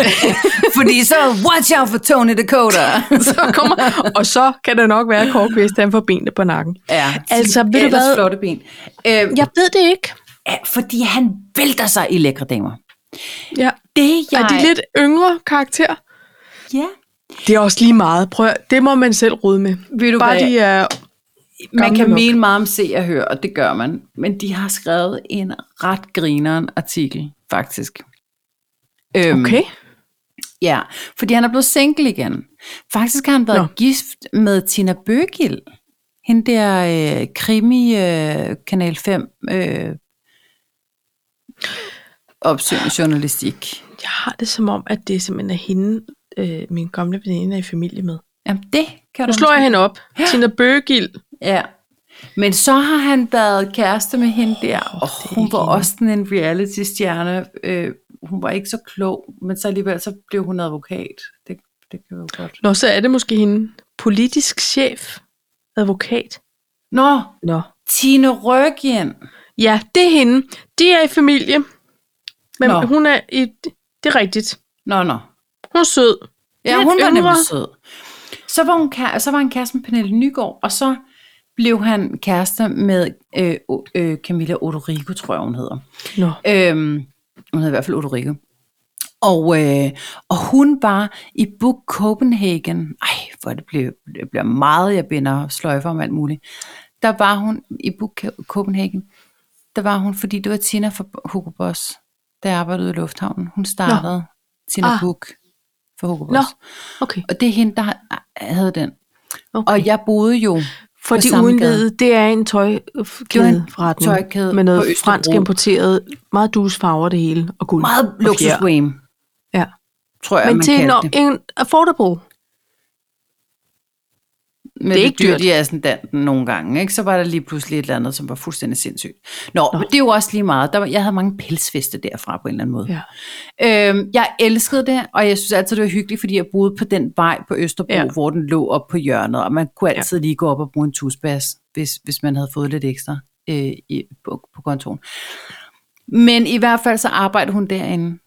[SPEAKER 2] Fordi så watch out for Tony Dakota.
[SPEAKER 1] så kommer, og så kan det nok være, at Korkvist han får benene på nakken.
[SPEAKER 2] ja,
[SPEAKER 1] Altså, ved du
[SPEAKER 2] ellers
[SPEAKER 1] hvad?
[SPEAKER 2] flotte ben. Øhm,
[SPEAKER 1] Jeg ved det ikke.
[SPEAKER 2] ja, fordi han vælter sig i lækre damer.
[SPEAKER 1] Ja.
[SPEAKER 2] Det jeg...
[SPEAKER 1] Er de lidt yngre karakter?
[SPEAKER 2] Ja.
[SPEAKER 1] Det er også lige meget. Prøv at- det må man selv rode med.
[SPEAKER 2] Ved du
[SPEAKER 1] Bare
[SPEAKER 2] hvad?
[SPEAKER 1] de er...
[SPEAKER 2] Man
[SPEAKER 1] Gamle
[SPEAKER 2] kan
[SPEAKER 1] nok.
[SPEAKER 2] mene meget om se og høre, og det gør man. Men de har skrevet en ret grineren artikel, faktisk. Øhm,
[SPEAKER 1] Okay.
[SPEAKER 2] Ja, fordi han er blevet single igen. Faktisk har han været
[SPEAKER 1] Nå.
[SPEAKER 2] Nå. gift med Tina Bøgil. Hende der øh, krimi øh, Kanal 5 øh, opsøgende journalistik.
[SPEAKER 1] Jeg har det som om, at det simpelthen er hende, øh, min gamle veninde er i familie med.
[SPEAKER 2] Jamen det kan
[SPEAKER 1] Nu
[SPEAKER 2] du
[SPEAKER 1] slår jeg
[SPEAKER 2] måske-
[SPEAKER 1] hende op. Tina Bøgegild.
[SPEAKER 2] Ja. Men så har han været kæreste med hende der, og hun
[SPEAKER 1] ikke
[SPEAKER 2] var
[SPEAKER 1] hende.
[SPEAKER 2] også sådan en reality-stjerne. Øh, hun var ikke så klog, men så alligevel så blev hun advokat. Det, det kan jo godt.
[SPEAKER 1] Nå, så er det måske hende. Politisk chef. Advokat.
[SPEAKER 2] Nå,
[SPEAKER 1] Nå.
[SPEAKER 2] Tine Røgjen.
[SPEAKER 1] Ja, det er hende. De er i familie. Men
[SPEAKER 2] Nå.
[SPEAKER 1] Nå. hun er i... Det er rigtigt.
[SPEAKER 2] Nå, nå.
[SPEAKER 1] Hun er sød.
[SPEAKER 2] Ja,
[SPEAKER 1] Lidt
[SPEAKER 2] hun var
[SPEAKER 1] yngre.
[SPEAKER 2] nemlig sød. Så var, hun, kære- så var han kæreste med Pernille Nygaard, og så blev han kærester med øh, O- øh, Camilla Odorico, tror jeg, hun hedder.
[SPEAKER 1] Nå.
[SPEAKER 2] Øhm, hun hedder i hvert fald Odorico. Og, øh, og hun var i Book Copenhagen. Ej, hvor det bliver, det bliver meget, jeg binder sløjfer om alt muligt. Der var hun i Book Co- Copenhagen. Der var hun, fordi det var Tina fra Hugo Boss, der arbejdede i Lufthavnen. Hun startede Nå. Tina
[SPEAKER 1] Ah.
[SPEAKER 2] ah. Book for Hugo Boss.
[SPEAKER 1] Nå. Okay.
[SPEAKER 2] Og det er hende, der har- havde den.
[SPEAKER 1] okay.
[SPEAKER 2] Og jeg boede jo
[SPEAKER 1] For
[SPEAKER 2] på
[SPEAKER 1] de
[SPEAKER 2] samme
[SPEAKER 1] udenvide, det er en tøjkædeforretning
[SPEAKER 2] tøjkæde
[SPEAKER 1] med
[SPEAKER 2] på
[SPEAKER 1] noget
[SPEAKER 2] Østerbro.
[SPEAKER 1] fransk importeret, meget dus farver det hele, og guld.
[SPEAKER 2] meget
[SPEAKER 1] og fjer.
[SPEAKER 2] luksuswame,
[SPEAKER 1] Ja.
[SPEAKER 2] tror jeg,
[SPEAKER 1] Men
[SPEAKER 2] man
[SPEAKER 1] til en,
[SPEAKER 2] kaldte det.
[SPEAKER 1] en affordable.
[SPEAKER 2] Men
[SPEAKER 1] det er ikke dyrt.
[SPEAKER 2] i ascendanten nogle gange, ikke? så var der lige pludselig et eller andet, som var fuldstændig sindssygt. Nå, Nå. men det er jo også lige meget. Der var, jeg havde mange pelsfeste derfra på en eller anden måde.
[SPEAKER 1] Ja.
[SPEAKER 2] Øhm, jeg elskede det, og jeg synes altid, det var hyggeligt, fordi jeg boede på den vej på Østerbro,
[SPEAKER 1] Ja.
[SPEAKER 2] ja. hvor den lå op på hjørnet, og man kunne altid ja. lige gå op og bruge en tusbas, hvis, hvis man havde fået lidt ekstra øh, i, på, på kontoen. Men i hvert fald så arbejdede hun derinde,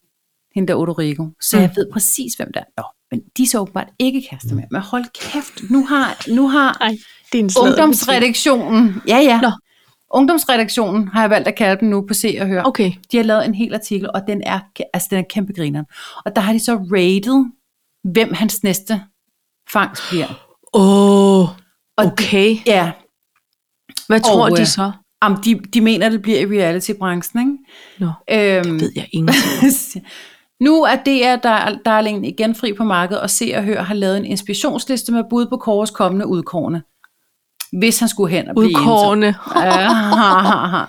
[SPEAKER 2] hende der Odorico, så mm. jeg ved præcis, hvem der er. Nå, men de er så åbenbart ikke
[SPEAKER 1] Mm.
[SPEAKER 2] kærester med. Men hold kæft, nu har, nu har
[SPEAKER 1] Nej, det er en
[SPEAKER 2] ungdomsredaktionen, ja ja,
[SPEAKER 1] Nå.
[SPEAKER 2] ungdomsredaktionen har jeg valgt at kalde dem nu på Se og Hør.
[SPEAKER 1] Okay.
[SPEAKER 2] De har lavet en hel artikel, og den er, altså, den er kæmpe grineren. Og der har de så rated, hvem hans næste fangst bliver.
[SPEAKER 1] Åh, oh,
[SPEAKER 2] Og
[SPEAKER 1] okay.
[SPEAKER 2] Ja,
[SPEAKER 1] Hvad tror
[SPEAKER 2] Og,
[SPEAKER 1] de
[SPEAKER 2] øh,
[SPEAKER 1] så?
[SPEAKER 2] om de, de mener, det bliver i reality-branchen,
[SPEAKER 1] Nå,
[SPEAKER 2] ikke? Øhm,
[SPEAKER 1] ved jeg ingenting.
[SPEAKER 2] nu er DR der, Darlingen igen fri på markedet, og Se og Hør har lavet en inspirationsliste med bud på Kåres kommende udkårne. Hvis han skulle hen og blive ensom.
[SPEAKER 1] Udkårene.
[SPEAKER 2] Ah,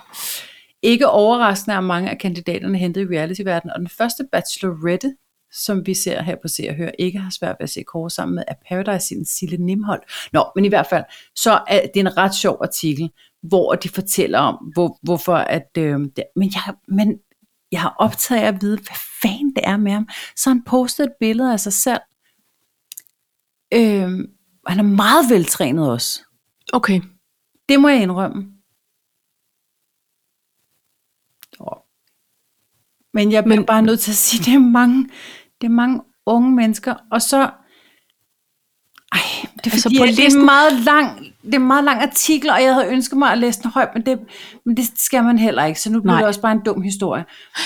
[SPEAKER 2] Ikke overraskende er mange af kandidaterne hentet i reality-verdenen, og den første bachelorette, som vi ser her på Se og Hør, ikke har svært ved at se Kåre sammen med, er Paradise-siden Sille Nimholdt. Nå, men i hvert fald, så er det en ret sjov artikel, hvor de fortæller om, hvor, hvorfor at... Øh, det, men, jeg, men jeg har optaget af at vide, hvad fanden det er med ham. Så han postede et billede af sig selv. Øh, han er meget veltrænet også.
[SPEAKER 1] Okay.
[SPEAKER 2] Det må jeg indrømme. Nå. Men jeg bliver
[SPEAKER 1] Men-
[SPEAKER 2] Men, bare nødt til at sige, at det er mange, det er mange unge mennesker, og så... Ej, det er,
[SPEAKER 1] Altså,
[SPEAKER 2] altså fordi,
[SPEAKER 1] på
[SPEAKER 2] på det, er
[SPEAKER 1] listen-
[SPEAKER 2] en meget lang, det er en meget lang artikel, og jeg havde ønsket mig at læse den højt, men det, men det skal man heller ikke, så nu bliver
[SPEAKER 1] Nej.
[SPEAKER 2] det også bare en dum historie.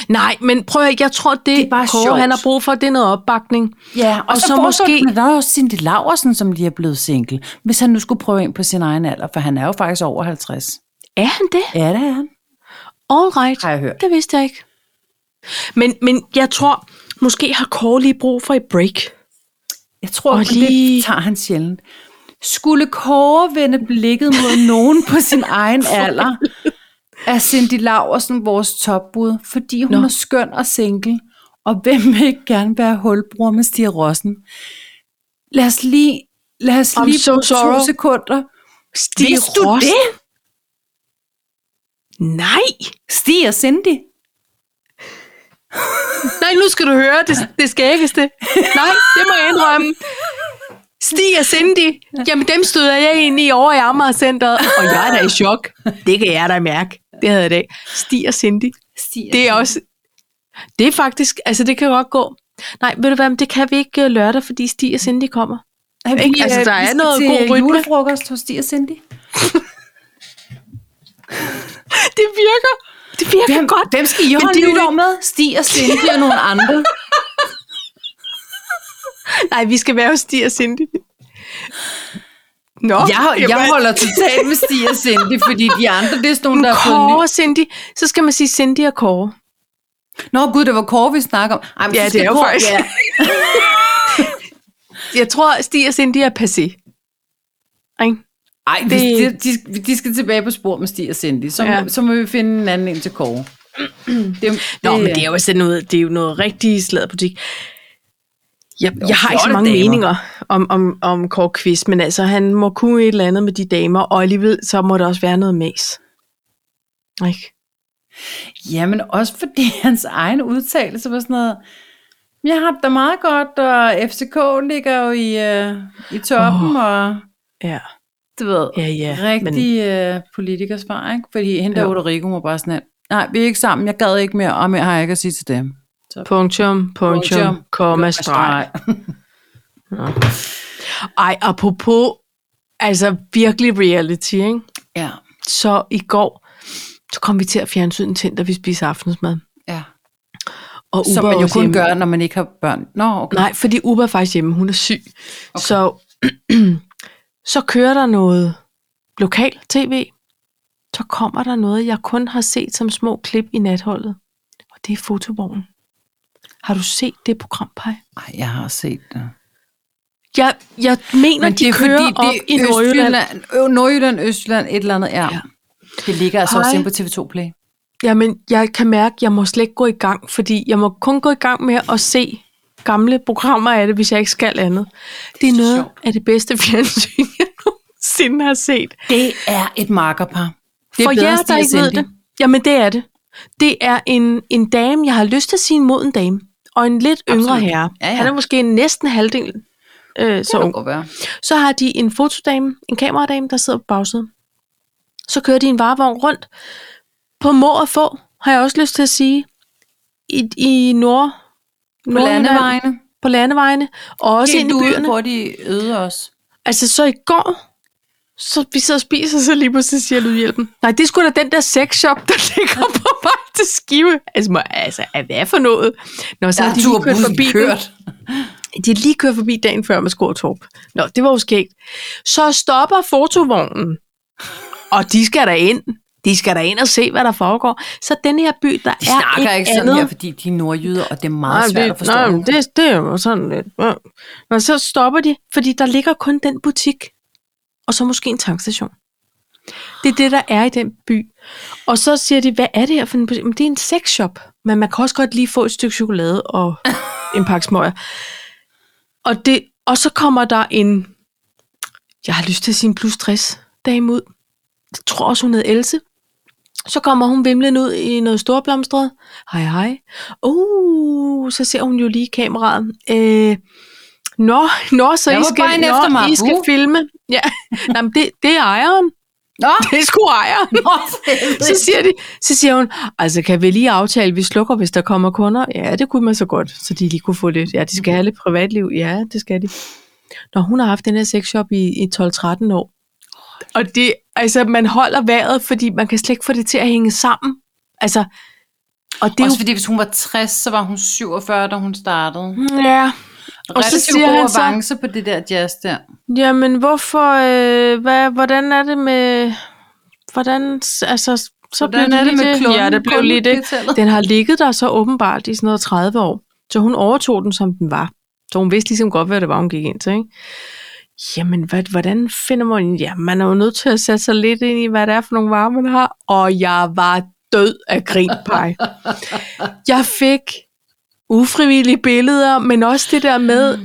[SPEAKER 1] Nej, men prøv at, jeg tror, det, det
[SPEAKER 2] er bare
[SPEAKER 1] Kåre,
[SPEAKER 2] sjovt.
[SPEAKER 1] han har brug for, det er noget opbakning.
[SPEAKER 2] Ja, og,
[SPEAKER 1] Og
[SPEAKER 2] og så,
[SPEAKER 1] så
[SPEAKER 2] så måske...
[SPEAKER 1] måske-
[SPEAKER 2] Men der er også Cindy Laversen, som lige er blevet single, hvis han nu skulle prøve ind på sin egen alder, for han er jo faktisk over 50.
[SPEAKER 1] Er han det?
[SPEAKER 2] Ja, det er han.
[SPEAKER 1] All right.
[SPEAKER 2] Har jeg hørt.
[SPEAKER 1] Det vidste jeg ikke. Men, men jeg tror, måske har Kåre lige brug for et break.
[SPEAKER 2] Jeg tror,
[SPEAKER 1] Og
[SPEAKER 2] og lige...
[SPEAKER 1] lige-
[SPEAKER 2] det tager han sjældent. Skulle Kåre vende blikket mod nogen på sin egen alder, er Cindy Laversen vores topbud, fordi hun
[SPEAKER 1] Nå.
[SPEAKER 2] er skøn og single, Og hvem vil ikke gerne være hulbror med Stig Rossen? Lad os lige, lad os
[SPEAKER 1] I'm
[SPEAKER 2] lige
[SPEAKER 1] so
[SPEAKER 2] bruge
[SPEAKER 1] sorry.
[SPEAKER 2] to sekunder.
[SPEAKER 1] Stig
[SPEAKER 2] Vidste du
[SPEAKER 1] Rossen?
[SPEAKER 2] det?
[SPEAKER 1] Nej!
[SPEAKER 2] Stig og Cindy.
[SPEAKER 1] Nej, nu skal du høre det, det skæggeste. Nej, det må jeg indrømme. Stig og Cindy, jamen dem støder jeg ind i over i Amager-centeret, og jeg er da i chok. Det kan jeg da mærke. Det havde jeg da. ikke. Stig og Cindy,
[SPEAKER 2] Stig og
[SPEAKER 1] det er
[SPEAKER 2] Cindy.
[SPEAKER 1] også... Det er faktisk... Altså, det kan godt gå. Nej, ved du hvad, men det kan vi ikke øh, lørdag, fordi Stig og Cindy kommer.
[SPEAKER 2] Ej, vi,
[SPEAKER 1] Ikke? Altså,
[SPEAKER 2] øh,
[SPEAKER 1] der
[SPEAKER 2] vi
[SPEAKER 1] er
[SPEAKER 2] skal
[SPEAKER 1] noget
[SPEAKER 2] til
[SPEAKER 1] god rytme.
[SPEAKER 2] julefrokost hos Stig og Cindy.
[SPEAKER 1] Det virker. Det virker
[SPEAKER 2] Hvem,
[SPEAKER 1] godt.
[SPEAKER 2] hvem skal I
[SPEAKER 1] Men
[SPEAKER 2] holde
[SPEAKER 1] det er jo
[SPEAKER 2] nytår med? Stig og Cindy og nogle andre.
[SPEAKER 1] Nej, vi skal være hos Stig og Cindy. Nå,
[SPEAKER 2] Jeg, jeg
[SPEAKER 1] jamen,
[SPEAKER 2] holder totalt med Stig og Cindy, fordi de andre, det er sådan nogle, der har fået
[SPEAKER 1] Kåre og Cindy. Så skal man sige Cindy og Kåre.
[SPEAKER 2] ny- Nå gud, det var Kåre, vi snakker om. Ej, men
[SPEAKER 1] Ja,
[SPEAKER 2] så
[SPEAKER 1] det
[SPEAKER 2] skal
[SPEAKER 1] er jo
[SPEAKER 2] Kåre-
[SPEAKER 1] faktisk-
[SPEAKER 2] Ja.
[SPEAKER 1] Jeg tror, Stig og Cindy er passé. Ikke?
[SPEAKER 2] Ej, det... de,
[SPEAKER 1] Det-
[SPEAKER 2] de, de skal tilbage på spor med Stig og Cindy. Så, ja.
[SPEAKER 1] Ja.
[SPEAKER 2] så må vi finde en anden en til Kåre. Det,
[SPEAKER 1] Nå, men det er jo sådan noget, det er jo noget rigtig sladderbutik. Jeg, jeg har ikke så
[SPEAKER 2] flotte
[SPEAKER 1] mange
[SPEAKER 2] damer.
[SPEAKER 1] meninger om, om, om Kåre Kvist, men altså, han må kunne et eller andet med de damer, og alligevel så må der også være noget mæs. Ikke?
[SPEAKER 2] Jamen også fordi hans egen udtalelse var sådan noget, jeg har det da meget godt, og FCK ligger jo i, øh, i toppen, oh. og
[SPEAKER 1] Ja,
[SPEAKER 2] du ved,
[SPEAKER 1] ja, ja. Men,
[SPEAKER 2] rigtig men... øh, politikersvar, ikke? Fordi hende der
[SPEAKER 1] Jo.
[SPEAKER 2] Rodrigo var bare sådan, at, nej, vi er ikke sammen, jeg gad ikke mere, og mere har jeg ikke at sige til dem.
[SPEAKER 1] punktum, punktum, komma, streg. Ej, apropos, altså virkelig reality, ikke?
[SPEAKER 2] Ja,
[SPEAKER 1] Så i går, så kom vi til at fjernsyne tændt, da vi spiste aftensmad.
[SPEAKER 2] ja.
[SPEAKER 1] Og Uber
[SPEAKER 2] Som man
[SPEAKER 1] er
[SPEAKER 2] jo
[SPEAKER 1] også
[SPEAKER 2] kun
[SPEAKER 1] hjemme.
[SPEAKER 2] gør, når man ikke har børn. Nå, okay.
[SPEAKER 1] Nej, fordi Uber er faktisk hjemme. Hun er syg. Okay. Så, så kører der noget lokal tv. Så kommer der noget, jeg kun har set som små klip i natholdet. Og det er fotovognen. Har du set det program, Paj?
[SPEAKER 2] Ej, jeg har set det.
[SPEAKER 1] Jeg, jeg mener, de kører op i Nordjylland.
[SPEAKER 2] Ø- Nordjylland, Østjylland, et eller andet, ja. ja.
[SPEAKER 1] Ja.
[SPEAKER 2] Det ligger altså også
[SPEAKER 1] Hej.
[SPEAKER 2] inde på TV2 Play.
[SPEAKER 1] Jamen, jeg kan mærke, at jeg må slet ikke gå i gang, fordi jeg må kun gå i gang med at se gamle programmer af det, hvis jeg ikke skal andet. Det er
[SPEAKER 2] så
[SPEAKER 1] noget
[SPEAKER 2] sjovt.
[SPEAKER 1] af det bedste fjernsyn, jeg nogensinde har set.
[SPEAKER 2] Det er et markerpar. Det
[SPEAKER 1] For jer,
[SPEAKER 2] end
[SPEAKER 1] der
[SPEAKER 2] Stig og
[SPEAKER 1] ikke ved
[SPEAKER 2] Cindy.
[SPEAKER 1] det. Jamen, det er det. Det er en, en dame, jeg har lyst til at sige en moden dame, og en lidt Absolut. yngre
[SPEAKER 2] Absolut.
[SPEAKER 1] herre.
[SPEAKER 2] Ja, ja.
[SPEAKER 1] Han er måske næsten halvdelen øh,
[SPEAKER 2] Det
[SPEAKER 1] så
[SPEAKER 2] kan
[SPEAKER 1] ung.
[SPEAKER 2] godt være.
[SPEAKER 1] Så har de en fotodame, en kameradame, der sidder på bagsiden. Så kører de en varevogn rundt. På må og få, har jeg også lyst til at sige, i, i nord,
[SPEAKER 2] På
[SPEAKER 1] Nordjylland,
[SPEAKER 2] landevejene.
[SPEAKER 1] på landevejene, og også ind i
[SPEAKER 2] ude,
[SPEAKER 1] byerne.
[SPEAKER 2] hvor de øde os.
[SPEAKER 1] Altså, så i går, så vi sidder og spiser, så lige pludselig siger lydhjælpen, nej, det er sgu da den der sexshop, der ligger på vej til Skive. Altså, må, altså er hvad for noget? Nå, så
[SPEAKER 2] Der
[SPEAKER 1] har
[SPEAKER 2] er
[SPEAKER 1] de lige kørt
[SPEAKER 2] turbussen
[SPEAKER 1] forbi
[SPEAKER 2] kørt.
[SPEAKER 1] Den. De har lige kørt forbi dagen før med Skortorp. Nå, det var jo skægt. Så stopper fotovognen, og de skal der ind. De skal der ind og se, hvad der foregår. Så den her by, der
[SPEAKER 2] De
[SPEAKER 1] er
[SPEAKER 2] snakker
[SPEAKER 1] et
[SPEAKER 2] ikke
[SPEAKER 1] andet.
[SPEAKER 2] sådan her, fordi de er nordjyder, og det er meget
[SPEAKER 1] Nej,
[SPEAKER 2] svært
[SPEAKER 1] det,
[SPEAKER 2] at forstå.
[SPEAKER 1] Nej, men det, det er jo sådan lidt. Ja. Men så stopper de, fordi der ligger kun den butik, og så måske en tankstation. Det er det, der er i den by. Og så siger de, hvad er det her for en butik? Men det er en sexshop, men man kan også godt lige få et stykke chokolade og en pakke smøger. Og, det, og så kommer der en, jeg har lyst til at sige en plus 60 dame ud. Jeg tror også, hun hed Else. Så kommer hun vimlende ud i noget storblomstret. Hej, hej. Uh, så ser hun jo lige kameraet. Øh, nå, nå, så
[SPEAKER 2] Jeg
[SPEAKER 1] I
[SPEAKER 2] var
[SPEAKER 1] skal,
[SPEAKER 2] bare en
[SPEAKER 1] nå,
[SPEAKER 2] efter
[SPEAKER 1] I
[SPEAKER 2] Marabou.
[SPEAKER 1] skal filme. Ja, Nå, men det, det er ejeren.
[SPEAKER 2] Nå,
[SPEAKER 1] Det er sgu ejeren. Så siger, de, så siger hun, altså kan vi lige aftale, at vi slukker, hvis der kommer kunder? Ja, det kunne man så godt, så de lige kunne få lidt. Ja, de skal have lidt privatliv. Ja, det skal de. Når hun har haft den her sexshop i, i 12-13 år. Og det, altså, man holder vejret, fordi man kan slet ikke få det til at hænge sammen. Altså, og det er
[SPEAKER 2] Også
[SPEAKER 1] jo...
[SPEAKER 2] fordi, hvis hun var 60, så var hun 47, da hun startede.
[SPEAKER 1] Mm, Ja,
[SPEAKER 2] Og så siger
[SPEAKER 1] han
[SPEAKER 2] han
[SPEAKER 1] så-
[SPEAKER 2] så... på det der jazz der.
[SPEAKER 1] jamen hvorfor, øh, hvad, hvordan er det med, hvordan, altså, så
[SPEAKER 2] Hvordan
[SPEAKER 1] blev
[SPEAKER 2] er
[SPEAKER 1] det,
[SPEAKER 2] det
[SPEAKER 1] lige
[SPEAKER 2] med
[SPEAKER 1] det.
[SPEAKER 2] klumpen?
[SPEAKER 1] Ja, det blev
[SPEAKER 2] Klumpen
[SPEAKER 1] lige det.
[SPEAKER 2] bliver tallet.
[SPEAKER 1] Den har ligget der så åbenbart i sådan noget 30 år. Så hun overtog den, som den var. Så hun vidste ligesom godt, hvad det var, hun gik ind til. Ikke? Jamen, hvad, hvordan finder man... Ja, man er jo nødt til at sætte sig lidt ind i, hvad det er for nogle varer, man har. Og jeg var død af grin, pej. Jeg fik ufrivillige billeder, men også det der med,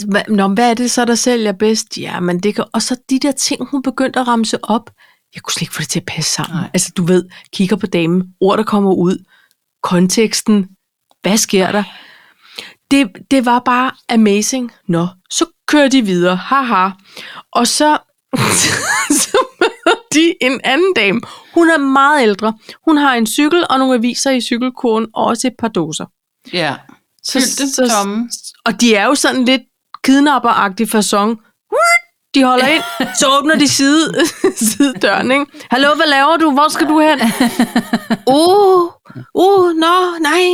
[SPEAKER 1] hva- Nå, men hvad er det så, der sælger bedst? Jamen, det kan... Og så de der ting, hun begyndte at ramse op. Jeg kunne slet ikke få det til at passe sammen.
[SPEAKER 2] Nej.
[SPEAKER 1] Nej. Altså, du ved, kigger på damen, ord, der kommer ud, konteksten, hvad sker der? Det, det var bare amazing. Nå, så kører de videre, haha. Og så, så møder de en anden dame. Hun er meget ældre. Hun har en cykel og nogle aviser i cykelkurven, og også et par dåser.
[SPEAKER 2] Ja. Fyldte, tomme.
[SPEAKER 1] Og de er jo sådan lidt kidnapperagtig façon. De holder ind, så åbner de side, sidedøren, ikke? Hallo, hvad laver du? Hvor skal du hen? Uh, uh, nå, nej,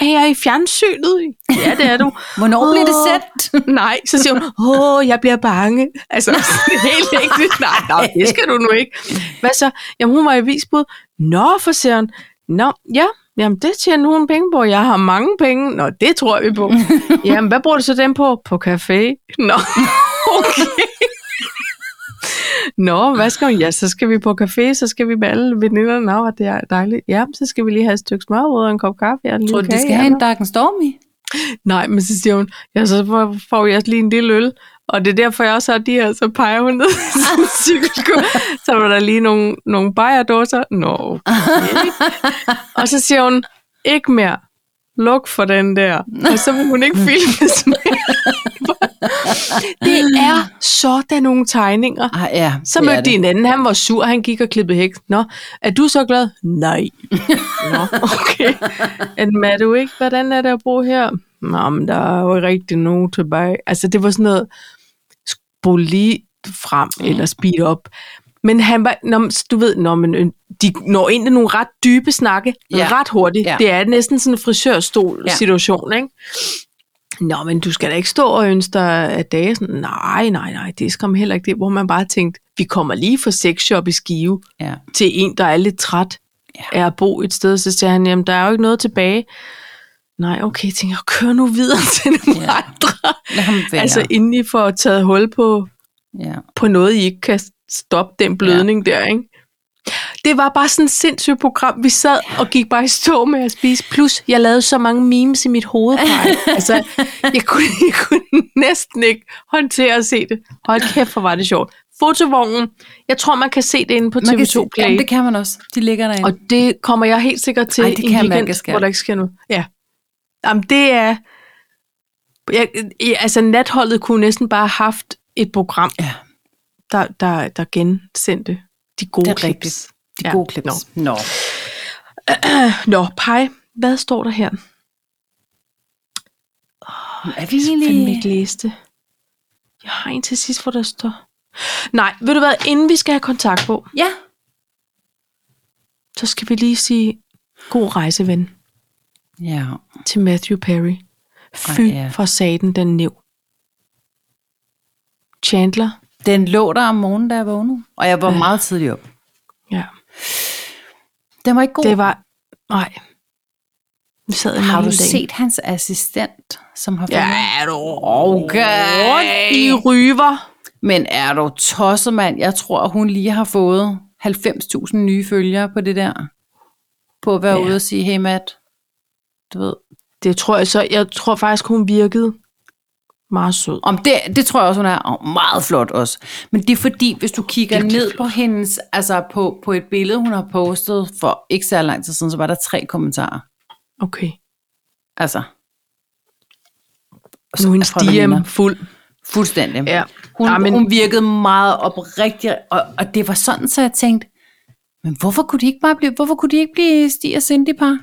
[SPEAKER 1] er jeg i fjernsynet? Ja, det er du.
[SPEAKER 2] Hvornår
[SPEAKER 1] Åh.
[SPEAKER 2] bliver det sendt?
[SPEAKER 1] Nej, så siger hun, åh, jeg bliver bange. Altså, sådan helt ægte. Nej, nej, det skal du nu ikke. Hvad så? Jamen, hun var i visbud. Nå, for søren. Nå, ja, jamen det tjener hun penge på. Jeg har mange penge. Nå, det tror vi på. Jamen, hvad bruger du så dem på? På café. Nå, okay. Nå, hvad skal vi? Ja, så skal vi på café, så skal vi med alle veninderne. Nå, hvor det er dejligt. Ja, så skal vi lige have et stykke smørbrød og en kop kaffe. Ja,
[SPEAKER 2] Tror du, de skal have en Dark and Stormy?
[SPEAKER 1] Nej, men så siger hun, ja, så får- får jeg lige en lille øl. Og det er derfor, jeg også har de her, så peger hun ned i sin cykelsko. Så var der lige nogle, nogle bajerdåser. Nå, okay. Og så siger hun, ikke mere. Luk for den der. Og så vil hun ikke filmes mere. det er sådan nogle tegninger.
[SPEAKER 2] Ah, ja.
[SPEAKER 1] Så
[SPEAKER 2] det er
[SPEAKER 1] mødte de
[SPEAKER 2] det.
[SPEAKER 1] en anden, han var sur, han gik og klippede hæk. Nå, er du så glad? Nej. Nå, okay. Men er du ikke, hvordan er det at bo her? Nå, men der er jo ikke rigtig nogen tilbage. Altså, det var sådan noget, spol lige frem,
[SPEAKER 2] Mm.
[SPEAKER 1] eller speed op. Men han var, når, du ved, når man, øh, de når ind i nogle ret dybe snakke,
[SPEAKER 2] Ja.
[SPEAKER 1] ja. ret hurtigt.
[SPEAKER 2] Ja.
[SPEAKER 1] Ja. Det er næsten sådan en frisørstol-situation, ikke? Nå, men du skal da ikke stå og ønske dig at dage sådan, nej, nej, nej, det skal man heller ikke det, hvor man bare tænkte, vi kommer lige fra sexshop i Skive
[SPEAKER 2] Ja.
[SPEAKER 1] til en, der er lidt træt af at bo et sted, så siger han, jamen der er jo ikke noget tilbage. Nej, okay, jeg tænker jeg, kør nu videre til nogle
[SPEAKER 2] Ja.
[SPEAKER 1] ja. andre.
[SPEAKER 2] Lad ham være.
[SPEAKER 1] Altså inden I får taget hul på,
[SPEAKER 2] ja.
[SPEAKER 1] på noget, I ikke kan stoppe den blødning ja. der, ikke? Det var bare sådan et sindssygt program. Vi sad og gik bare i stå med at spise. Plus, jeg lavede så mange memes i mit hoved. Karin. altså, jeg kunne, jeg kunne næsten ikke håndtere at se det. Hold kæft, hvor var det sjovt. Fotovognen. Jeg tror, man kan se det inde på
[SPEAKER 2] Man kan se-
[SPEAKER 1] TV2 Play.
[SPEAKER 2] Jamen, det kan man også. De ligger derinde.
[SPEAKER 1] Og det kommer jeg helt sikkert til
[SPEAKER 2] Ej,
[SPEAKER 1] Ej,
[SPEAKER 2] det
[SPEAKER 1] det
[SPEAKER 2] kan jeg
[SPEAKER 1] en
[SPEAKER 2] mærke, jeg
[SPEAKER 1] weekend,
[SPEAKER 2] skal.
[SPEAKER 1] hvor der ikke sker noget. Ja. Jamen, det er... Jeg, jeg, altså, natholdet kunne næsten bare have haft et program,
[SPEAKER 2] Ja.
[SPEAKER 1] der, der, der gensendte de gode
[SPEAKER 2] det er
[SPEAKER 1] clips.
[SPEAKER 2] rigtigt. De
[SPEAKER 1] Ja,
[SPEAKER 2] gode klips.
[SPEAKER 1] nå.
[SPEAKER 2] Nå.
[SPEAKER 1] Nå, Pej, hvad står der her?
[SPEAKER 2] Er vi
[SPEAKER 1] Jeg kan fandme
[SPEAKER 2] lige...
[SPEAKER 1] ikke læse det. Jeg har en til sidst, hvor der står... Nej, ved du hvad, inden vi skal have kontakt på,
[SPEAKER 2] Ja.
[SPEAKER 1] så skal vi lige sige god rejseven
[SPEAKER 2] Ja.
[SPEAKER 1] til Matthew Perry. Fy
[SPEAKER 2] Ej, ja.
[SPEAKER 1] for satan, den nev. Chandler,
[SPEAKER 2] Den lå der om morgenen, da jeg vågnede. Og jeg
[SPEAKER 1] Øh.
[SPEAKER 2] var meget tidlig op.
[SPEAKER 1] ja.
[SPEAKER 2] Den var ikke god.
[SPEAKER 1] Det var... Nej. Vi sad i
[SPEAKER 2] Har
[SPEAKER 1] hele
[SPEAKER 2] du
[SPEAKER 1] dagen.
[SPEAKER 2] set hans assistent, som har
[SPEAKER 1] Ja,
[SPEAKER 2] fundet-
[SPEAKER 1] er du
[SPEAKER 2] Okay.
[SPEAKER 1] rundt i ryver?
[SPEAKER 2] Men er du tosset, mand? Jeg tror, hun lige har fået 90.000 nye følgere på det der. På at være
[SPEAKER 1] Ja.
[SPEAKER 2] ude og sige, hey Matt, du ved.
[SPEAKER 1] Det tror jeg så. Jeg tror faktisk, hun virkede meget sød.
[SPEAKER 2] Om det, det tror jeg også, hun er og meget flot også. Men det er fordi, hvis du kigger
[SPEAKER 1] Virkelig
[SPEAKER 2] ned på hendes, altså på, på et billede, hun har postet for ikke så lang tid siden, så var der tre kommentarer.
[SPEAKER 1] Okay.
[SPEAKER 2] Altså.
[SPEAKER 1] Nu er hendes
[SPEAKER 2] Fra veninder.
[SPEAKER 1] DM fuld.
[SPEAKER 2] Fuldstændig.
[SPEAKER 1] Ja.
[SPEAKER 2] Hun,
[SPEAKER 1] Nej,
[SPEAKER 2] men...
[SPEAKER 1] men-
[SPEAKER 2] hun virkede meget oprigtig, og, og det var sådan, så jeg tænkte, men hvorfor kunne de ikke bare blive, hvorfor kunne de ikke blive Stig og Cindy par?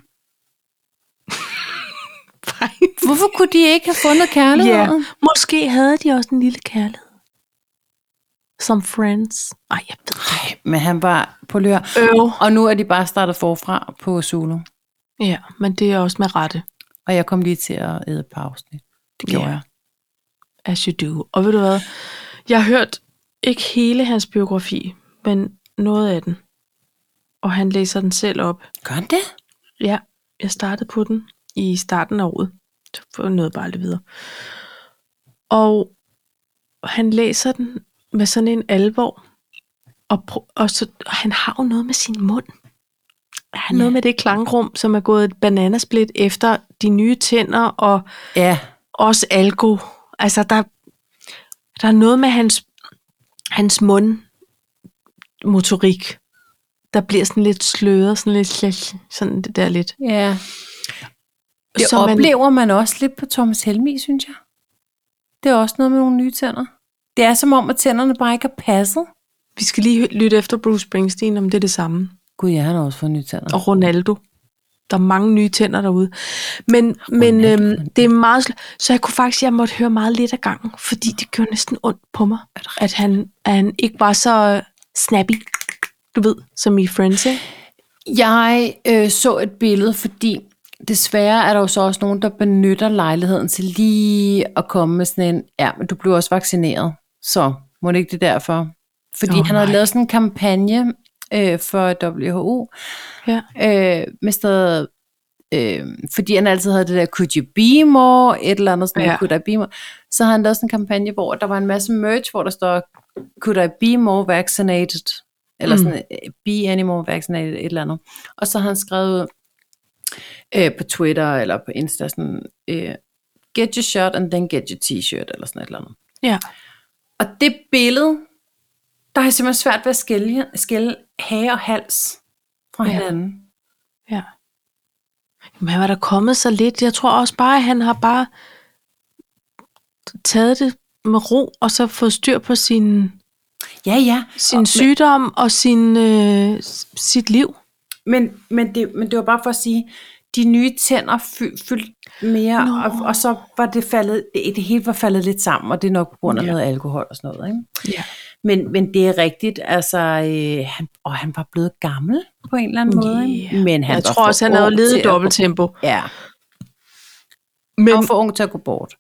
[SPEAKER 2] Hvorfor kunne de ikke have fundet
[SPEAKER 1] ja.
[SPEAKER 2] kærligheden? Yeah.
[SPEAKER 1] Måske havde de også en lille kærlighed. Som friends. Ej, jeg ved det.
[SPEAKER 2] Men han var på lør.
[SPEAKER 1] Øv.
[SPEAKER 2] Og nu er de bare startet forfra på Zulu.
[SPEAKER 1] Ja, men det er også med rette.
[SPEAKER 2] Og jeg kom lige til at æde et par afsnit. Det gjorde
[SPEAKER 1] Ja.
[SPEAKER 2] jeg.
[SPEAKER 1] as you do. Og ved du hvad? Jeg har hørt ikke hele hans biografi, men noget af den. Og han læser den selv op.
[SPEAKER 2] Gør han det?
[SPEAKER 1] Ja, jeg startede på den i starten af året. Så noget bare lidt videre. Og han læser den med sådan en alvor. Og, prø- og så, og han har jo noget med sin mund. Der er noget med det klangrum, som er gået et bananasplit efter de nye tænder, og
[SPEAKER 2] Ja.
[SPEAKER 1] også alko. Altså, der, der er noget med hans, hans mundmotorik, der bliver sådan lidt sløret, sådan lidt sådan det der lidt.
[SPEAKER 2] ja. Det
[SPEAKER 1] Så
[SPEAKER 2] så
[SPEAKER 1] man-
[SPEAKER 2] oplever man... man også lidt på Thomas Helmi, synes jeg. Det er også noget med nogle nye tænder. Det er som om, at tænderne bare ikke er passet.
[SPEAKER 1] Vi skal lige lytte efter Bruce Springsteen, om det er det samme.
[SPEAKER 2] Gud, jeg har da også fået nye tænder.
[SPEAKER 1] og Ronaldo. Der er mange nye tænder derude. Men, men
[SPEAKER 2] Ronaldo,
[SPEAKER 1] øhm, det er meget... sl- Så jeg kunne faktisk, jeg måtte høre meget lidt af gangen, fordi det gjorde næsten ondt på mig, at han, at han ikke var så øh, snappy, du ved, som i Friends, ikke?
[SPEAKER 2] Jeg øh, så et billede, fordi desværre er der jo så også nogen, der benytter lejligheden til lige at komme med sådan en, ja, men du blev også vaccineret, så må det ikke det derfor? Fordi
[SPEAKER 1] Åh,
[SPEAKER 2] oh, han havde
[SPEAKER 1] nej.
[SPEAKER 2] lavet sådan en kampagne øh, for WHO,
[SPEAKER 1] Ja.
[SPEAKER 2] øh, med stadig, øh, fordi han altid havde det der, could you be more, et eller andet sådan,
[SPEAKER 1] Ja.
[SPEAKER 2] ja. could I be more, så havde han lavet sådan en kampagne, hvor der var en masse merch, hvor der står, could I be more vaccinated, eller
[SPEAKER 1] Mm.
[SPEAKER 2] mm. sådan, øh, be any more vaccinated, et eller andet, og så har han skrevet øh, på Twitter, eller på Insta, sådan, øh, get your shot, and then get your t-shirt, eller sådan et eller andet.
[SPEAKER 1] Ja.
[SPEAKER 2] Og det billede, der har jeg simpelthen svært ved at skille, skille hage og hals fra
[SPEAKER 1] Ja.
[SPEAKER 2] ja. hinanden.
[SPEAKER 1] ja. Jamen, han var der kommet så lidt. Jeg tror også bare, at han har bare taget det med ro, og så fået styr på sin,
[SPEAKER 2] Ja, ja.
[SPEAKER 1] sin sygdom og sin, øh, s- sit liv.
[SPEAKER 2] Men, men, det, men det var bare for at sige, de nye tænder fy, fyldte mere,
[SPEAKER 1] Nå.
[SPEAKER 2] og, og, så var det faldet, det, det hele var faldet lidt sammen, og det er nok på grund af
[SPEAKER 1] Ja.
[SPEAKER 2] ja. noget alkohol og sådan noget. Ikke?
[SPEAKER 1] Ja.
[SPEAKER 2] Men, men det er rigtigt, altså, øh, han, og han var blevet gammel på en eller anden måde. Ikke? Men
[SPEAKER 1] jeg
[SPEAKER 2] han var
[SPEAKER 1] tror
[SPEAKER 2] for
[SPEAKER 1] også, han havde
[SPEAKER 2] ung til
[SPEAKER 1] levet
[SPEAKER 2] at-
[SPEAKER 1] dobbelttempo.
[SPEAKER 2] Ja, men, han var
[SPEAKER 1] Men
[SPEAKER 2] for ung til at gå bort.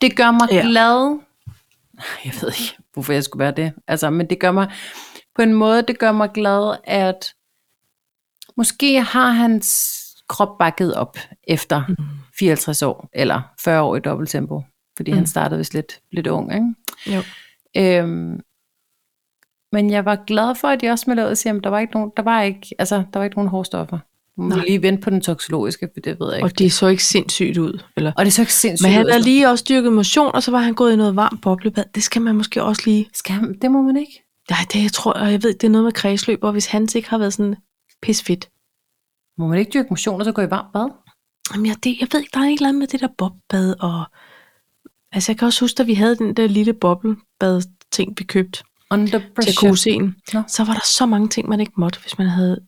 [SPEAKER 2] Det gør mig
[SPEAKER 1] Ja.
[SPEAKER 2] ja. glad. Jeg ved ikke, hvorfor jeg skulle være det. Altså, men det gør mig, på en måde, det gør mig glad, at måske har hans krop bakket op efter 54 år, eller 40 år i dobbelt tempo, fordi mm. han startede vist lidt, lidt ung, ikke?
[SPEAKER 1] jo.
[SPEAKER 2] Øhm, men jeg var glad for, at jeg også med at sige, at der var ikke nogen, der var ikke, altså, der var ikke nogen hårstoffer. Nu må vi
[SPEAKER 1] Nej.
[SPEAKER 2] lige vente på den toksologiske, for det ved jeg ikke.
[SPEAKER 1] Og det så ikke sindssygt ud. Eller?
[SPEAKER 2] Og det er så ikke sindssygt.
[SPEAKER 1] Men han
[SPEAKER 2] ud,
[SPEAKER 1] havde
[SPEAKER 2] altså.
[SPEAKER 1] lige også dyrket motion, og så var han gået i noget varmt boblebad. Det skal man måske også lige...
[SPEAKER 2] Skal han, det må man ikke.
[SPEAKER 1] Nej, det jeg tror jeg, jeg ved, det er noget med kredsløb, og hvis han ikke har været sådan pisfedt.
[SPEAKER 2] Må man ikke dyrke motion, og så gå i varmt bad?
[SPEAKER 1] Jamen, jeg, det, jeg ved ikke, der er et eller andet med det der bobbad, og... Altså, jeg kan også huske, at vi havde den der lille boblebad-ting, vi købte
[SPEAKER 2] Under
[SPEAKER 1] til
[SPEAKER 2] pressure.
[SPEAKER 1] jacuzzien.
[SPEAKER 2] Nå.
[SPEAKER 1] Så var der så mange ting, man ikke måtte, hvis man havde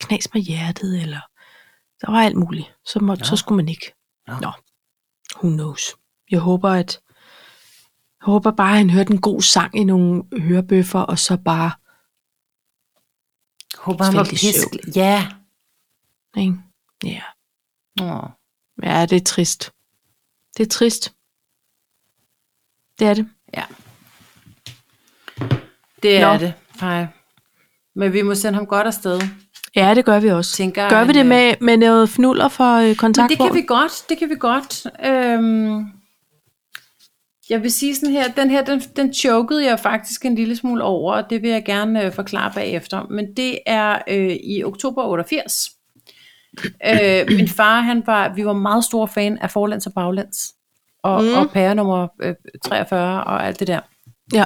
[SPEAKER 1] knas med hjertet, eller... Der var alt muligt. Så, måtte, så skulle man ikke.
[SPEAKER 2] Nå.
[SPEAKER 1] Nå. Who knows? Jeg håber, at jeg håber bare, at han hørte en god sang i nogle hørebøffer, og så bare...
[SPEAKER 2] Håber han var
[SPEAKER 1] Faldt i
[SPEAKER 2] pisk. Ja.
[SPEAKER 1] Ikke? Ja.
[SPEAKER 2] Åh.
[SPEAKER 1] ja, det er trist. Det er trist. Det er det.
[SPEAKER 2] ja. Det er
[SPEAKER 1] Nå.
[SPEAKER 2] det, Freja. Men vi må sende ham godt afsted.
[SPEAKER 1] Ja, det gør vi også.
[SPEAKER 2] Tænker
[SPEAKER 1] gør vi
[SPEAKER 2] han,
[SPEAKER 1] det
[SPEAKER 2] øh,
[SPEAKER 1] med, med noget fnuller for øh,
[SPEAKER 2] Men
[SPEAKER 1] kontakt?
[SPEAKER 2] det kan vi godt, det kan vi godt. Øhm, jeg vil sige sådan her, den her, den, den chokede jeg faktisk en lille smule over, og det vil jeg gerne øh, forklare bagefter. Men det er øh, i oktober 88. Øh, min far, han var, vi var meget store fan af forlands og baglands. Og,
[SPEAKER 1] Mm.
[SPEAKER 2] mm. og pære nummer øh, 43 og alt det der.
[SPEAKER 1] Ja.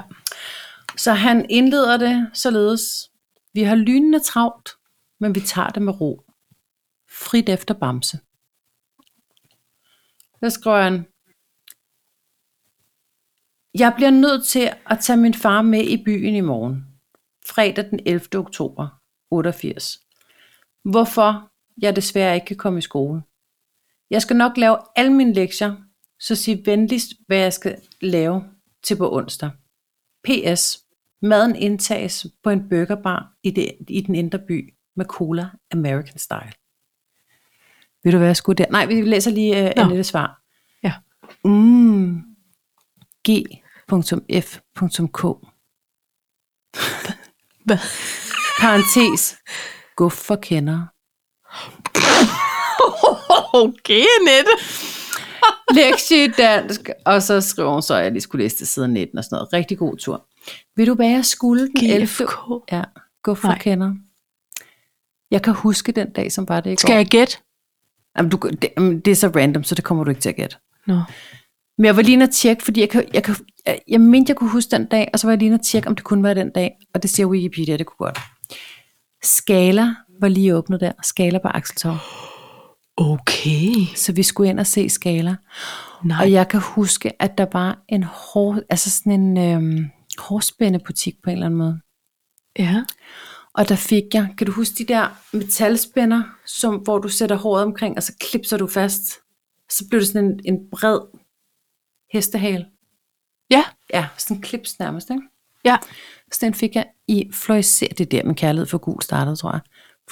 [SPEAKER 2] Så han indleder det således. Vi har lynende travlt, men vi tager det med ro. Frit efter bamse. Så skriver han, jeg bliver nødt til at tage min far med i byen i morgen. Fredag den 11. oktober 88. Hvorfor jeg desværre ikke kan komme i skole. Jeg skal nok lave alle mine lektier, så sig venligst, hvad jeg skal lave til på onsdag. PS. Maden indtages på en burgerbar i, det, i den indre by med cola American style. Vil du være skudt der? Nej, vi læser lige uh,
[SPEAKER 1] Nå.
[SPEAKER 2] Annettes svar.
[SPEAKER 1] Ja.
[SPEAKER 2] Mm. G.f.k.
[SPEAKER 1] Hvad?
[SPEAKER 2] Parentes. Guf for kendere.
[SPEAKER 1] Okay, Nette.
[SPEAKER 2] Lektie i dansk. Og så skriver hun så, at jeg lige skulle læse til siden 19 og sådan noget. Rigtig god tur. Vil du være jeg skulle den 11.
[SPEAKER 1] GFK.
[SPEAKER 2] Ja, guf for
[SPEAKER 1] Nej.
[SPEAKER 2] kendere. Jeg kan huske den dag, som var det i
[SPEAKER 1] Skal
[SPEAKER 2] går.
[SPEAKER 1] jeg gætte?
[SPEAKER 2] Jamen, du, det, jamen, det er så random, så det kommer du ikke til at gætte.
[SPEAKER 1] Nå.
[SPEAKER 2] Men jeg var lige inde og tjekke, fordi jeg, kan, jeg, kan, jeg, jeg mente, jeg kunne huske den dag, og så var jeg lige inde og tjekke, om det kunne være den dag. Og det siger Wikipedia, det kunne godt. Skala var lige åbnet der. Skala på Akseltorv.
[SPEAKER 1] Okay.
[SPEAKER 2] Så vi skulle ind og se Skala.
[SPEAKER 1] Nej.
[SPEAKER 2] Og jeg kan huske, at der var en hår, altså sådan en øhm, hårspændebutik på en eller anden måde.
[SPEAKER 1] Ja.
[SPEAKER 2] Og der fik jeg, kan du huske de der metalspænder, som, hvor du sætter håret omkring, og så klipser du fast. Så blev det sådan en, en bred hestehale.
[SPEAKER 1] Ja.
[SPEAKER 2] Ja, sådan en klips nærmest, ikke?
[SPEAKER 1] Ja.
[SPEAKER 2] Så den fik jeg i floriser, det er der min kærlighed for gul startede, tror jeg.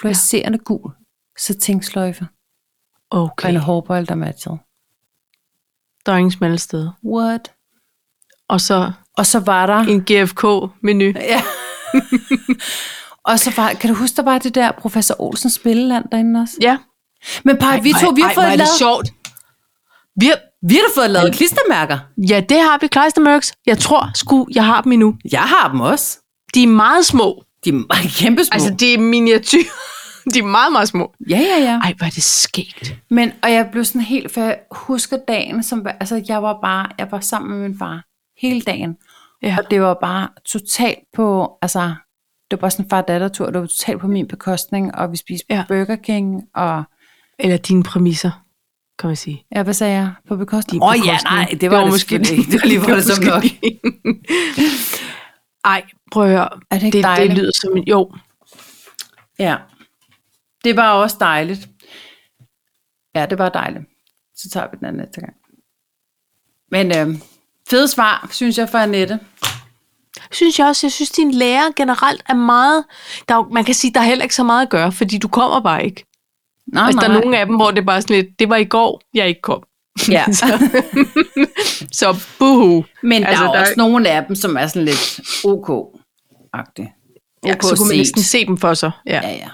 [SPEAKER 2] Floriserende ja. gul, så tingsløjfe og
[SPEAKER 1] Okay.
[SPEAKER 2] en hårbold, der matchede.
[SPEAKER 1] Der er ingen smalle steder.
[SPEAKER 2] What?
[SPEAKER 1] Og så
[SPEAKER 2] Og så var der...
[SPEAKER 1] en GFK-menu.
[SPEAKER 2] Ja. og så var, kan du huske, der var det der Professor Olsens spilleland derinde også?
[SPEAKER 1] Ja.
[SPEAKER 2] Men par, vi to, vi har fået
[SPEAKER 1] hvor er det
[SPEAKER 2] lavet,
[SPEAKER 1] sjovt. Vi har,
[SPEAKER 2] vi har da fået lavet klistermærker.
[SPEAKER 1] ja, det har vi. Kleistermørks. Jeg tror sgu, jeg har dem endnu.
[SPEAKER 2] Jeg har dem også.
[SPEAKER 1] De er meget små.
[SPEAKER 2] De er meget kæmpe små.
[SPEAKER 1] Altså,
[SPEAKER 2] Altså,
[SPEAKER 1] det er miniatyr. De er meget, meget små.
[SPEAKER 2] ja, ja, ja.
[SPEAKER 1] Ej, hvor er det skægt.
[SPEAKER 2] Men, og jeg blev sådan helt, for jeg husker dagen, som, var- altså jeg var bare, jeg var sammen med min far hele dagen.
[SPEAKER 1] Ja.
[SPEAKER 2] Og det var bare totalt på, altså, det var bare sådan en far-datter-tur, det var totalt på min bekostning, og vi spiste
[SPEAKER 1] Ja.
[SPEAKER 2] ja. Burger King, og
[SPEAKER 1] Eller dine præmisser, kan man sige.
[SPEAKER 2] ja, hvad sagde jeg, på
[SPEAKER 1] Din
[SPEAKER 2] bekostning? Åh,
[SPEAKER 1] bekostning.
[SPEAKER 2] selvfølgelig ikke. Det var lige for det som nok.
[SPEAKER 1] Ej, prøv at høre.
[SPEAKER 2] Er det ikke
[SPEAKER 1] det, det
[SPEAKER 2] dejligt?
[SPEAKER 1] lyder som en... Jo,
[SPEAKER 2] Ja. Det var også dejligt. Ja, det var dejligt. Så tager vi den anden næste gang. Men øh, fede svar, synes jeg, fra Annette.
[SPEAKER 1] synes jeg også. Jeg synes, din lærer generelt er meget... Der er, jo- man kan sige, der er heller ikke så meget at gøre, fordi du kommer bare ikke.
[SPEAKER 2] Nej,
[SPEAKER 1] altså, der er nogle af dem, hvor det er bare sådan lidt, det var i går, jeg ikke kom.
[SPEAKER 2] Ja.
[SPEAKER 1] Så buhu.
[SPEAKER 2] Men
[SPEAKER 1] Altså,
[SPEAKER 2] altså, der er
[SPEAKER 1] der-
[SPEAKER 2] også nogle af dem, som er sådan lidt ok-agtige.
[SPEAKER 1] Ja, så kunne man
[SPEAKER 2] set.
[SPEAKER 1] næsten se dem for sig. Ja.
[SPEAKER 2] Ja, ja. Jeg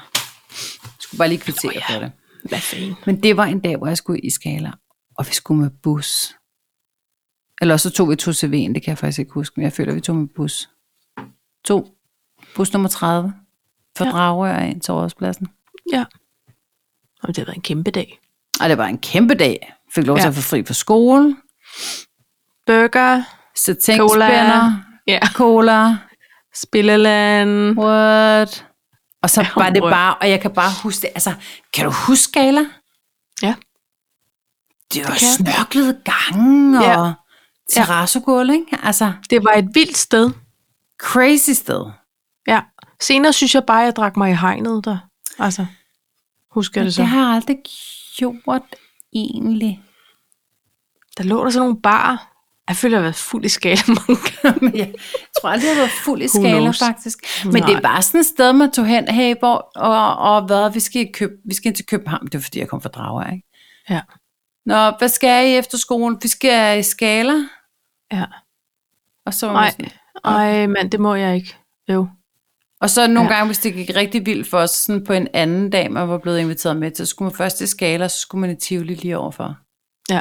[SPEAKER 2] skulle bare lige kvittere oh, ja. for det.
[SPEAKER 1] Hvad fanden?
[SPEAKER 2] Men det var en dag, hvor jeg skulle i Skala, og vi skulle med bus. Eller også så tog vi to CV'en, det kan jeg faktisk ikke huske, men jeg føler, vi tog med bus. To. Bus nummer 30. Fra
[SPEAKER 1] Ja.
[SPEAKER 2] ja. Dragør ind til Rådhuspladsen.
[SPEAKER 1] Ja. Og det har været en kæmpe dag.
[SPEAKER 2] Og det var en kæmpe dag. Fik lov til
[SPEAKER 1] Ja.
[SPEAKER 2] at få fri fra skole.
[SPEAKER 1] Burger,
[SPEAKER 2] Så
[SPEAKER 1] Cola.
[SPEAKER 2] tænkspænder.
[SPEAKER 1] ja.
[SPEAKER 2] Cola.
[SPEAKER 1] Spilleland.
[SPEAKER 2] What? Og så var det
[SPEAKER 1] hvor-
[SPEAKER 2] bare, og jeg kan bare huske det, altså, kan du huske Skala?
[SPEAKER 1] Ja.
[SPEAKER 2] Det var
[SPEAKER 1] kan jeg.
[SPEAKER 2] snørklede gange
[SPEAKER 1] Ja.
[SPEAKER 2] ja. og terrassegulv, ikke? Altså,
[SPEAKER 1] Det var et vildt sted.
[SPEAKER 2] crazy sted.
[SPEAKER 1] Ja. Senere synes jeg bare, at jeg drak mig i hegnet der. Altså, husker jeg det så.
[SPEAKER 2] Det har jeg aldrig gjort egentlig.
[SPEAKER 1] Der lå der sådan nogle barer. Jeg føler, jeg har været fuld i skala mange gange.
[SPEAKER 2] Men jeg tror aldrig, jeg har været fuld i
[SPEAKER 1] Who
[SPEAKER 2] skala,
[SPEAKER 1] knows?
[SPEAKER 2] faktisk. Men
[SPEAKER 1] Nej.
[SPEAKER 2] det var sådan et sted, man tog hen, hey, hvor, og, og hvad, vi skal, i køb, vi skal ind til København. Det var, fordi jeg kom fra Drager, ikke?
[SPEAKER 1] Ja.
[SPEAKER 2] Nå, hvad skal I efter skolen? Vi skal i skala.
[SPEAKER 1] Ja.
[SPEAKER 2] Og så, var man
[SPEAKER 1] Nej,
[SPEAKER 2] sådan,
[SPEAKER 1] ej, mand, det må jeg ikke. Jo.
[SPEAKER 2] og så nogle
[SPEAKER 1] Ja.
[SPEAKER 2] ja. gange, hvis det gik rigtig vildt for os, sådan på en anden dag, man var blevet inviteret med til, så skulle man først i skala, og så skulle man i Tivoli lige overfor.
[SPEAKER 1] Ja.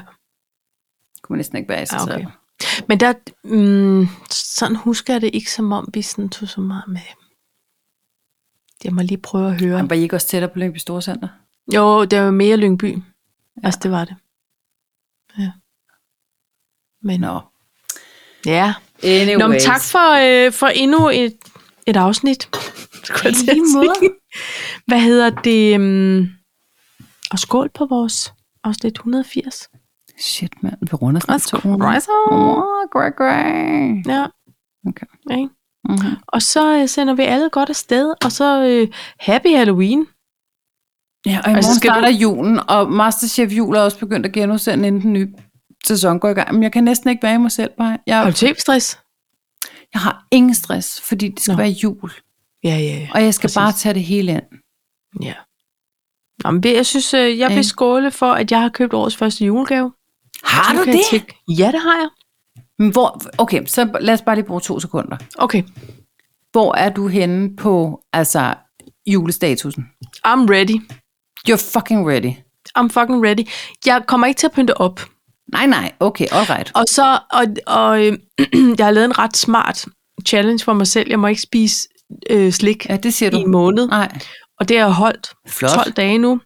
[SPEAKER 2] Kunne man næsten ikke være i sig
[SPEAKER 1] Ja,
[SPEAKER 2] ja,
[SPEAKER 1] okay.
[SPEAKER 2] okay.
[SPEAKER 1] Men der, mm, sådan husker jeg det ikke, som om vi sådan tog så meget med. Jeg må lige prøve at høre.
[SPEAKER 2] Var I ikke også tættere på Lyngby Storcenter?
[SPEAKER 1] Jo, det var mere Lyngby. Altså, det var det. Ja. Men,
[SPEAKER 2] Nå.
[SPEAKER 1] ja.
[SPEAKER 2] Anyways.
[SPEAKER 1] Nå, men tak for, øh, for endnu et, et afsnit. Skulle jeg til at
[SPEAKER 2] lige måde.
[SPEAKER 1] sige. Hvad hedder det? Um, og skål på vores afsnit 180.
[SPEAKER 2] Shit, mand. Vi runder snart 200.
[SPEAKER 1] Rejser.
[SPEAKER 2] Åh, grey, grey.
[SPEAKER 1] Ja.
[SPEAKER 2] Okay.
[SPEAKER 1] Ikke?
[SPEAKER 2] Mhm.
[SPEAKER 1] Og så øh, sender vi alle godt afsted, og så øh, happy Halloween.
[SPEAKER 2] Ja, og i
[SPEAKER 1] Altså,
[SPEAKER 2] morgen altså,
[SPEAKER 1] skal
[SPEAKER 2] starter du... julen, og Masterchef Jul er også begyndt at genudsende, inden den nye sæson går i gang. Men jeg kan næsten ikke være i mig selv, bare.
[SPEAKER 1] Har
[SPEAKER 2] Jeg,
[SPEAKER 1] du tv-stress?
[SPEAKER 2] jeg har ingen stress, fordi det skal
[SPEAKER 1] Nå.
[SPEAKER 2] Nå. være jul.
[SPEAKER 1] Ja, ja, ja.
[SPEAKER 2] Og jeg
[SPEAKER 1] Præcis.
[SPEAKER 2] skal Præcis. bare tage det hele ind.
[SPEAKER 1] ja. Nå, men det- jeg synes, øh, jeg vil
[SPEAKER 2] Ikke?
[SPEAKER 1] skåle for, at jeg har købt årets første julegave.
[SPEAKER 2] Har
[SPEAKER 1] Så
[SPEAKER 2] du
[SPEAKER 1] kan jeg
[SPEAKER 2] det?
[SPEAKER 1] tjekke- Ja, det har jeg.
[SPEAKER 2] Men Hvor, okay, så lad os bare lige bruge to sekunder.
[SPEAKER 1] Okay,
[SPEAKER 2] Hvor er du henne på altså, julestatusen?
[SPEAKER 1] I'm ready.
[SPEAKER 2] You're fucking ready.
[SPEAKER 1] I'm fucking ready. Jeg kommer ikke til at pynte op.
[SPEAKER 2] Nej, nej, okay, all right.
[SPEAKER 1] Og så, og, og øh, jeg har lavet en ret smart challenge for mig selv. Jeg må ikke spise øh, slik
[SPEAKER 2] Ja, det siger
[SPEAKER 1] i en
[SPEAKER 2] du.
[SPEAKER 1] måned.
[SPEAKER 2] Nej,
[SPEAKER 1] Og det har jeg holdt
[SPEAKER 2] Flot.
[SPEAKER 1] 12 dage nu,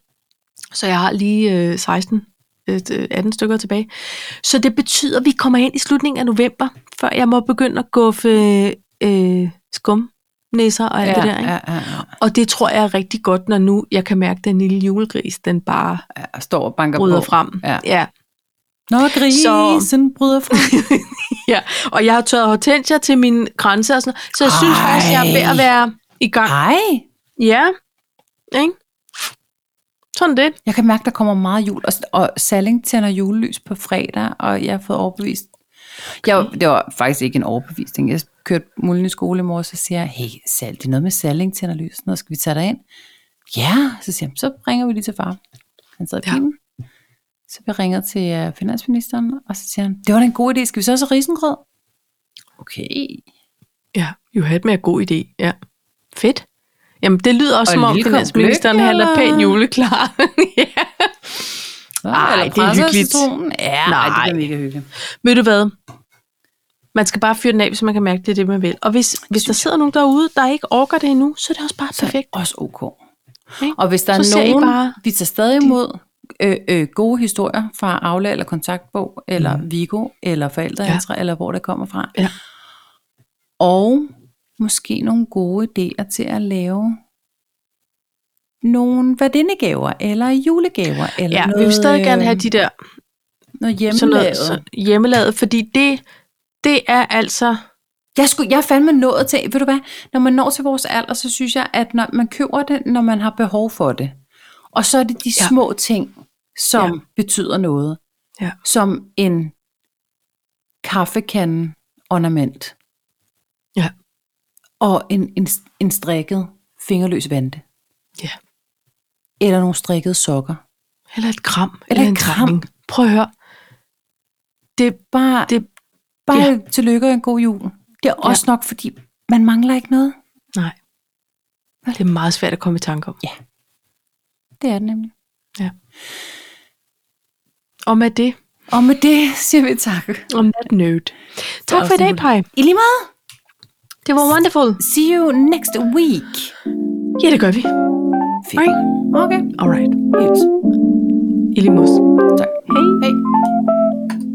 [SPEAKER 1] så jeg har lige øh, 16, øh, 18 stykker tilbage. Så det betyder, at vi kommer hen i slutningen af november, før jeg må begynde at guffe øh, skumnæsser og alt
[SPEAKER 2] ja,
[SPEAKER 1] det der. Ikke?
[SPEAKER 2] ja, ja,
[SPEAKER 1] Og det tror jeg er rigtig godt, når nu jeg kan mærke, at den lille julegris, den bare
[SPEAKER 2] ja. ja. Står og banker
[SPEAKER 1] bryder
[SPEAKER 2] på.
[SPEAKER 1] frem.
[SPEAKER 2] Ja.
[SPEAKER 1] ja.
[SPEAKER 2] Nå, grisen så... bryder frem.
[SPEAKER 1] ja. Og jeg har tørret hortensia til min grænse og sådan noget. Så jeg Ej. Ah. synes
[SPEAKER 2] Ej.
[SPEAKER 1] faktisk, jeg er ved at være i gang.
[SPEAKER 2] Ej,
[SPEAKER 1] Ja. Ikke? Sådan det.
[SPEAKER 2] jeg kan mærke, der kommer meget jul. Og, og Salling tænder julelys på fredag, og jeg har fået overbevist. Jeg, var- det var faktisk ikke en overbevisning. Jeg kørte Mullen i skole i morges, og siger, jeg, hey, Sal, det er noget med Salling tænder lys. Nå, skal vi tage dig ind? Ja, så siger han, så ringer vi lige til far. Han sad i
[SPEAKER 1] Ja.
[SPEAKER 2] bilen. Så vi ringer til øh, finansministeren, og så siger han, det var da en god idé, skal vi så også have risengrød? Okay.
[SPEAKER 1] Ja, you had med en god idé. Ja. Fedt. Jamen, det lyder også,
[SPEAKER 2] Og
[SPEAKER 1] som
[SPEAKER 2] en
[SPEAKER 1] om
[SPEAKER 2] lille kop
[SPEAKER 1] finansministeren
[SPEAKER 2] gløgg,
[SPEAKER 1] han er
[SPEAKER 2] eller?
[SPEAKER 1] pænt juleklar. ja. Ej,
[SPEAKER 2] Ej,
[SPEAKER 1] det er hyggeligt.
[SPEAKER 2] Ja,
[SPEAKER 1] Nej.
[SPEAKER 2] Nej. det er mega hyggeligt.
[SPEAKER 1] Ved du hvad? Man skal bare fyre den af, hvis man kan mærke, det er det, man vil. Og hvis, hvis der sidder nogen derude, der ikke orker det endnu, så er det også bare
[SPEAKER 2] Så er det
[SPEAKER 1] perfekt.
[SPEAKER 2] også ok.
[SPEAKER 1] Ikke?
[SPEAKER 2] Og hvis der
[SPEAKER 1] Så
[SPEAKER 2] er
[SPEAKER 1] ser I
[SPEAKER 2] nogen,
[SPEAKER 1] bare-
[SPEAKER 2] vi tager stadig imod øh, øh, gode historier fra Aula eller Kontaktbog, eller mm. Vigo, eller forældreintra, ja. eller hvor det kommer fra.
[SPEAKER 1] Ja.
[SPEAKER 2] Og måske nogle gode idéer til at lave nogle værtindegaver, eller julegaver, eller
[SPEAKER 1] Ja,
[SPEAKER 2] noget,
[SPEAKER 1] vi vil stadig gerne
[SPEAKER 2] øh,
[SPEAKER 1] have de der sådan
[SPEAKER 2] noget hjemmelavet.
[SPEAKER 1] noget, så hjemmelavet, fordi det, det er altså...
[SPEAKER 2] Jeg, skulle, jeg er fandme nået til, ved du hvad, når man når til vores alder, så synes jeg, at når man køber det, når man har behov for det. Og så er det de
[SPEAKER 1] Ja.
[SPEAKER 2] ja. små ting, som
[SPEAKER 1] Ja.
[SPEAKER 2] ja. betyder noget.
[SPEAKER 1] Ja.
[SPEAKER 2] Som en kaffekande ornament.
[SPEAKER 1] Ja.
[SPEAKER 2] Og en, en, en strikket fingerløs vante.
[SPEAKER 1] Ja.
[SPEAKER 2] Eller nogle strikkede sokker.
[SPEAKER 1] Eller et kram.
[SPEAKER 2] Eller et
[SPEAKER 1] en
[SPEAKER 2] kram.
[SPEAKER 1] drenning. Prøv at høre. Det,
[SPEAKER 2] Bare,
[SPEAKER 1] Det-
[SPEAKER 2] det, bare
[SPEAKER 1] ja.
[SPEAKER 2] ja. tillykke og en god jul. Det er også ja. nok, fordi man mangler ikke noget.
[SPEAKER 1] nej. Det er meget svært at komme i tanke om.
[SPEAKER 2] Det er det nemlig.
[SPEAKER 1] Og med det,
[SPEAKER 2] Og med det siger vi tak.
[SPEAKER 1] om that note. Tak for i
[SPEAKER 2] afsnit.
[SPEAKER 1] dag, Paj.
[SPEAKER 2] I lige meget.
[SPEAKER 1] Det var wonderful.
[SPEAKER 2] See you next week.
[SPEAKER 1] Ja, det gør vi.
[SPEAKER 2] Fedt. Okay.
[SPEAKER 1] Alright.
[SPEAKER 2] Helt.
[SPEAKER 1] I lige måde.
[SPEAKER 2] Tak.
[SPEAKER 1] Hej.
[SPEAKER 2] Hej.